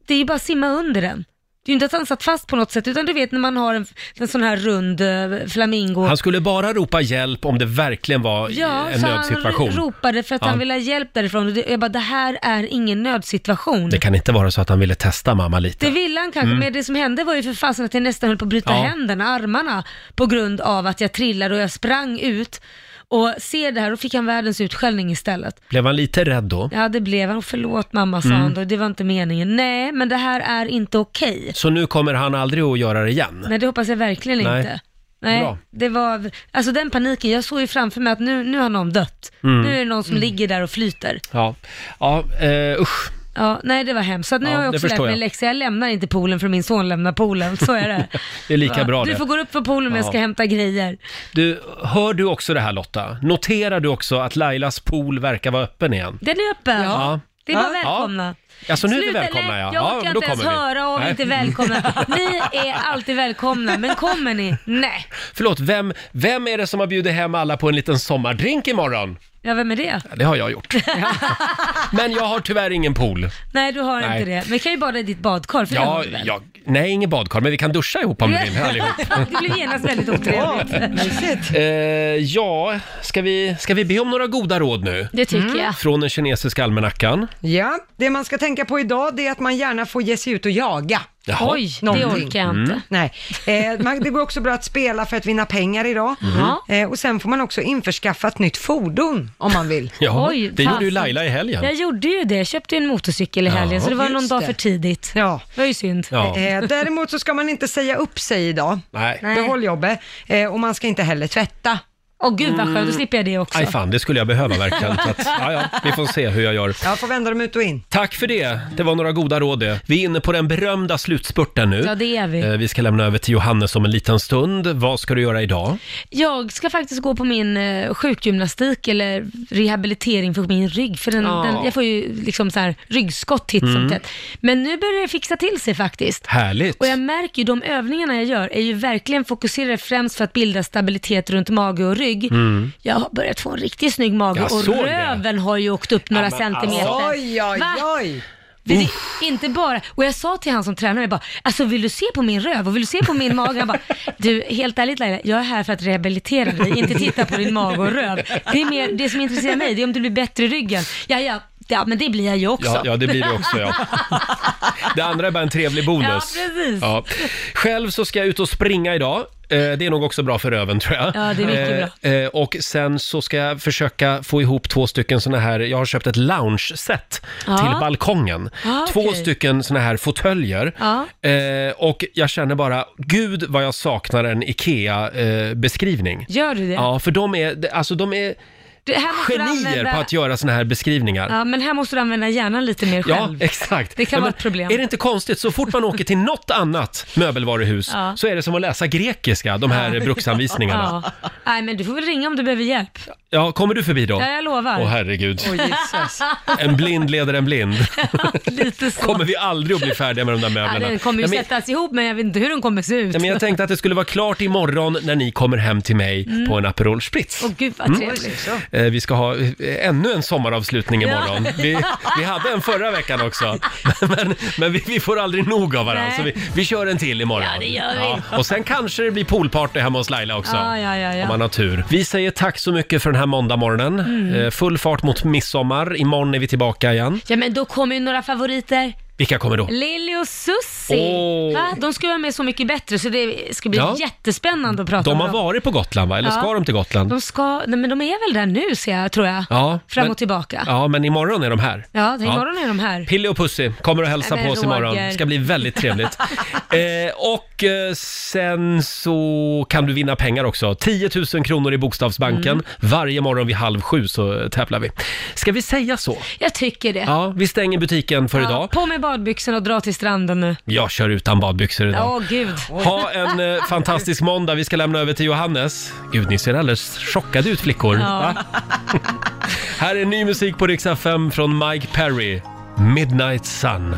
det är ju bara att simma under den. Det är ju inte att han satt fast på något sätt, utan du vet när man har en, en sån här rund eh, flamingo. Han skulle bara ropa hjälp om det verkligen var i- Ja, en så han nödsituation. ropade för att Ja. han ville ha hjälp därifrån. Och det- jag bara, det här är ingen nödsituation. Det kan inte vara så att han ville testa mamma lite. Det ville han kanske, Mm. men det som hände var ju för fasen att jag nästan höll på att bryta Ja. händerna, armarna, på grund av att jag trillade och jag sprang ut och ser det här och fick han världens utskällning istället. Blev han lite rädd då? Ja, det blev han. Och Förlåt mamma, sa Mm. han då. Det var inte meningen. Nej, men det här är inte okej. Så nu kommer han aldrig att göra det igen? Nej, det hoppas jag verkligen Nej. inte. Nej, Bra. det var, alltså den paniken, jag såg ju framför mig att nu, nu har någon dött. Mm. Nu är det någon som ligger där och flyter. Ja, ja eh, usch. Ja, nej det var hemskt. Så att nu Ja, har jag det också lärt förstår mig en jag. läxa. Jag lämnar inte poolen för min son lämnar poolen. Så är det. Det är lika Ja, bra Du det. får gå upp för poolen om jag Ja. ska hämta grejer. Du, hör du också det här Lotta? Noterar du också att Lailas pool verkar vara öppen igen? Den är öppen. Ja. Det är bara Ja. välkomna. Alltså nu är vi Sluta välkomna lä- ja. Jag ja, orkar då inte ens kommer vi. höra om Nej. inte välkomna. Ni är alltid välkomna, men kommer ni? Nej. Förlåt, vem, vem är det som har bjudit hem alla på en liten sommardrink imorgon? Ja, vem är det? Ja, Det har jag gjort. Men jag har tyvärr ingen pool. Nej, du har Nej. inte det. Men vi kan ju bada i ditt badkar, för det har Ja, du väl? ja, nej, ingen badkar, men vi kan duscha ihop om du vill allihop. Det blev genast väldigt otrevligt. Eh, ja, ska vi, ska vi be om några goda råd nu? Det tycker Mm. jag. Från den kinesiska almanackan. Ja, det man ska tänka på idag det är att man gärna får ge sig ut och jaga. Jaha. Oj, det orkar jag inte. Mm. Nej. Eh, man, det går också bra att spela för att vinna pengar idag. Mhm. Ja. Eh, och sen får man också införskaffa ett nytt fordon om man vill. Ja, Oj, det gjorde ju fasen. Laila i helgen. Jag gjorde ju det. Jag köpte ju en motorcykel i Ja. helgen, så det var Just någon dag det. för tidigt. Ja. Det var ju synd. Ja. Eh, däremot så ska man inte säga upp sig idag. Nej. Nej. Behåll jobbet. Eh, och man ska inte heller tvätta. Åh gud vad skönt, då slipper jag det också. Mm. Aj fan, det skulle jag behöva verkligen. Så att, ja, ja, vi får se hur jag gör. Jag får vända dem ut och in. Tack för det. Det var några goda råd det. Vi är inne på den berömda slutspurten nu. Ja, det är vi. Eh, Vi ska lämna över till Johannes om en liten stund. Vad ska du göra idag? Jag ska faktiskt gå på min eh, sjukgymnastik eller rehabilitering för min rygg. För den, Ja. den, jag får ju liksom så här ryggskott titt Mm. som tätt. Men nu börjar det fixa till sig faktiskt. Härligt. Och jag märker ju, de övningarna jag gör är ju verkligen fokuserade främst för att bilda stabilitet runt mage och rygg. Mm. Jag har börjat få en riktigt snygg mage Jag och såg det. röven har ju åkt upp några men centimeter. alltså. Oj, oj, Va? oj. Det, det, inte bara, och jag sa till han som tränade, jag bara, alltså vill du se på min röv och vill du se på min mage? Han bara, du helt ärligt Laila, jag är här för att rehabilitera dig, inte titta på din mage och röv. Det, är mer, det som intresserar mig, det är om du blir bättre i ryggen. Ja, ja, Ja, men det blir jag ju också. Ja, ja, det blir det också, ja. Det andra är bara en trevlig bonus. Ja, precis. Ja. Själv så ska jag ut och springa idag. Eh, Det är nog också bra för röven tror jag. Ja, det är mycket bra. Och sen så ska jag försöka få ihop två stycken såna här, jag har köpt ett lounge-set Ja. till balkongen. Ah, Två okej. stycken såna här fåtöljer. Ja. Eh, Och jag känner bara, gud vad jag saknar en IKEA-beskrivning. Gör du det? Ja, för de är, alltså de är Det här måste du genier använda- på att göra såna här beskrivningar. Ja, men här måste du använda hjärnan lite mer Ja, själv. exakt. Det kan vara Nej, men ett problem. Är det inte konstigt, så fort man åker till något annat möbelvaruhus Ja. så är det som att läsa grekiska, de här bruksanvisningarna. Ja. Nej, men du får väl ringa om du behöver hjälp. Ja, kommer du förbi då? Ja, jag lovar. Åh herregud. Åh, Jesus. En blind leder en blind. Lite så. Kommer vi aldrig att bli färdiga med de där ja, möblerna? den kommer ju Nej, men, sättas ihop, men jag vet inte hur den kommer se ut. nej, men jag tänkte att det skulle vara klart imorgon när ni kommer hem till mig Mm. på en Aperol Spritz. Åh gud vad Mm. trevligt. Eh, Vi ska ha eh, ännu en sommaravslutning imorgon. Ja. Vi, vi hade en förra veckan också, men, men vi, vi får aldrig nog av varandra. Nej. Så vi, vi kör en till imorgon. Ja, det gör vi. Och sen kanske det blir poolparty hemma hos Laila också. Ja, ja, ja, ja. Om man har tur. Vi säger tack så mycket för den här måndagmorgonen. Mm. Eh, Full fart mot midsommar. Imorgon är vi tillbaka igen. Ja, men då kommer ju några favoriter. Vilka kommer då? Lili och Susie. Åh. Va? De ska ju vara med Så mycket bättre, så det ska bli Ja. jättespännande att prata De med har dem. varit på Gotland va? Eller Ja. ska de till Gotland? De ska, nej, men de är väl där nu ser jag, tror jag. Ja, Fram men- och tillbaka. Ja, men imorgon är de här. Ja, det- imorgon är de här. Pille och Pussy kommer och hälsa Nej, på men oss imorgon. Roger. Det ska bli väldigt trevligt. eh, och eh, sen så kan du vinna pengar också. 10 000 kronor i Bokstavsbanken. Mm. Varje morgon vid halv sju så eh, tävlar vi. Ska vi säga så? Jag tycker det. Ja, vi stänger butiken för Ja, idag. På med badbyxorna och dra till stranden nu. Jag kör utan badbyxor idag. Åh gud. Ha en eh, fantastisk måndag. Vi ska lämna över till Johannes. Gud, ni ser alldeles chockade ut flickor. Va? Här är ny musik på Rix FM från Mike Perry, Midnight Sun.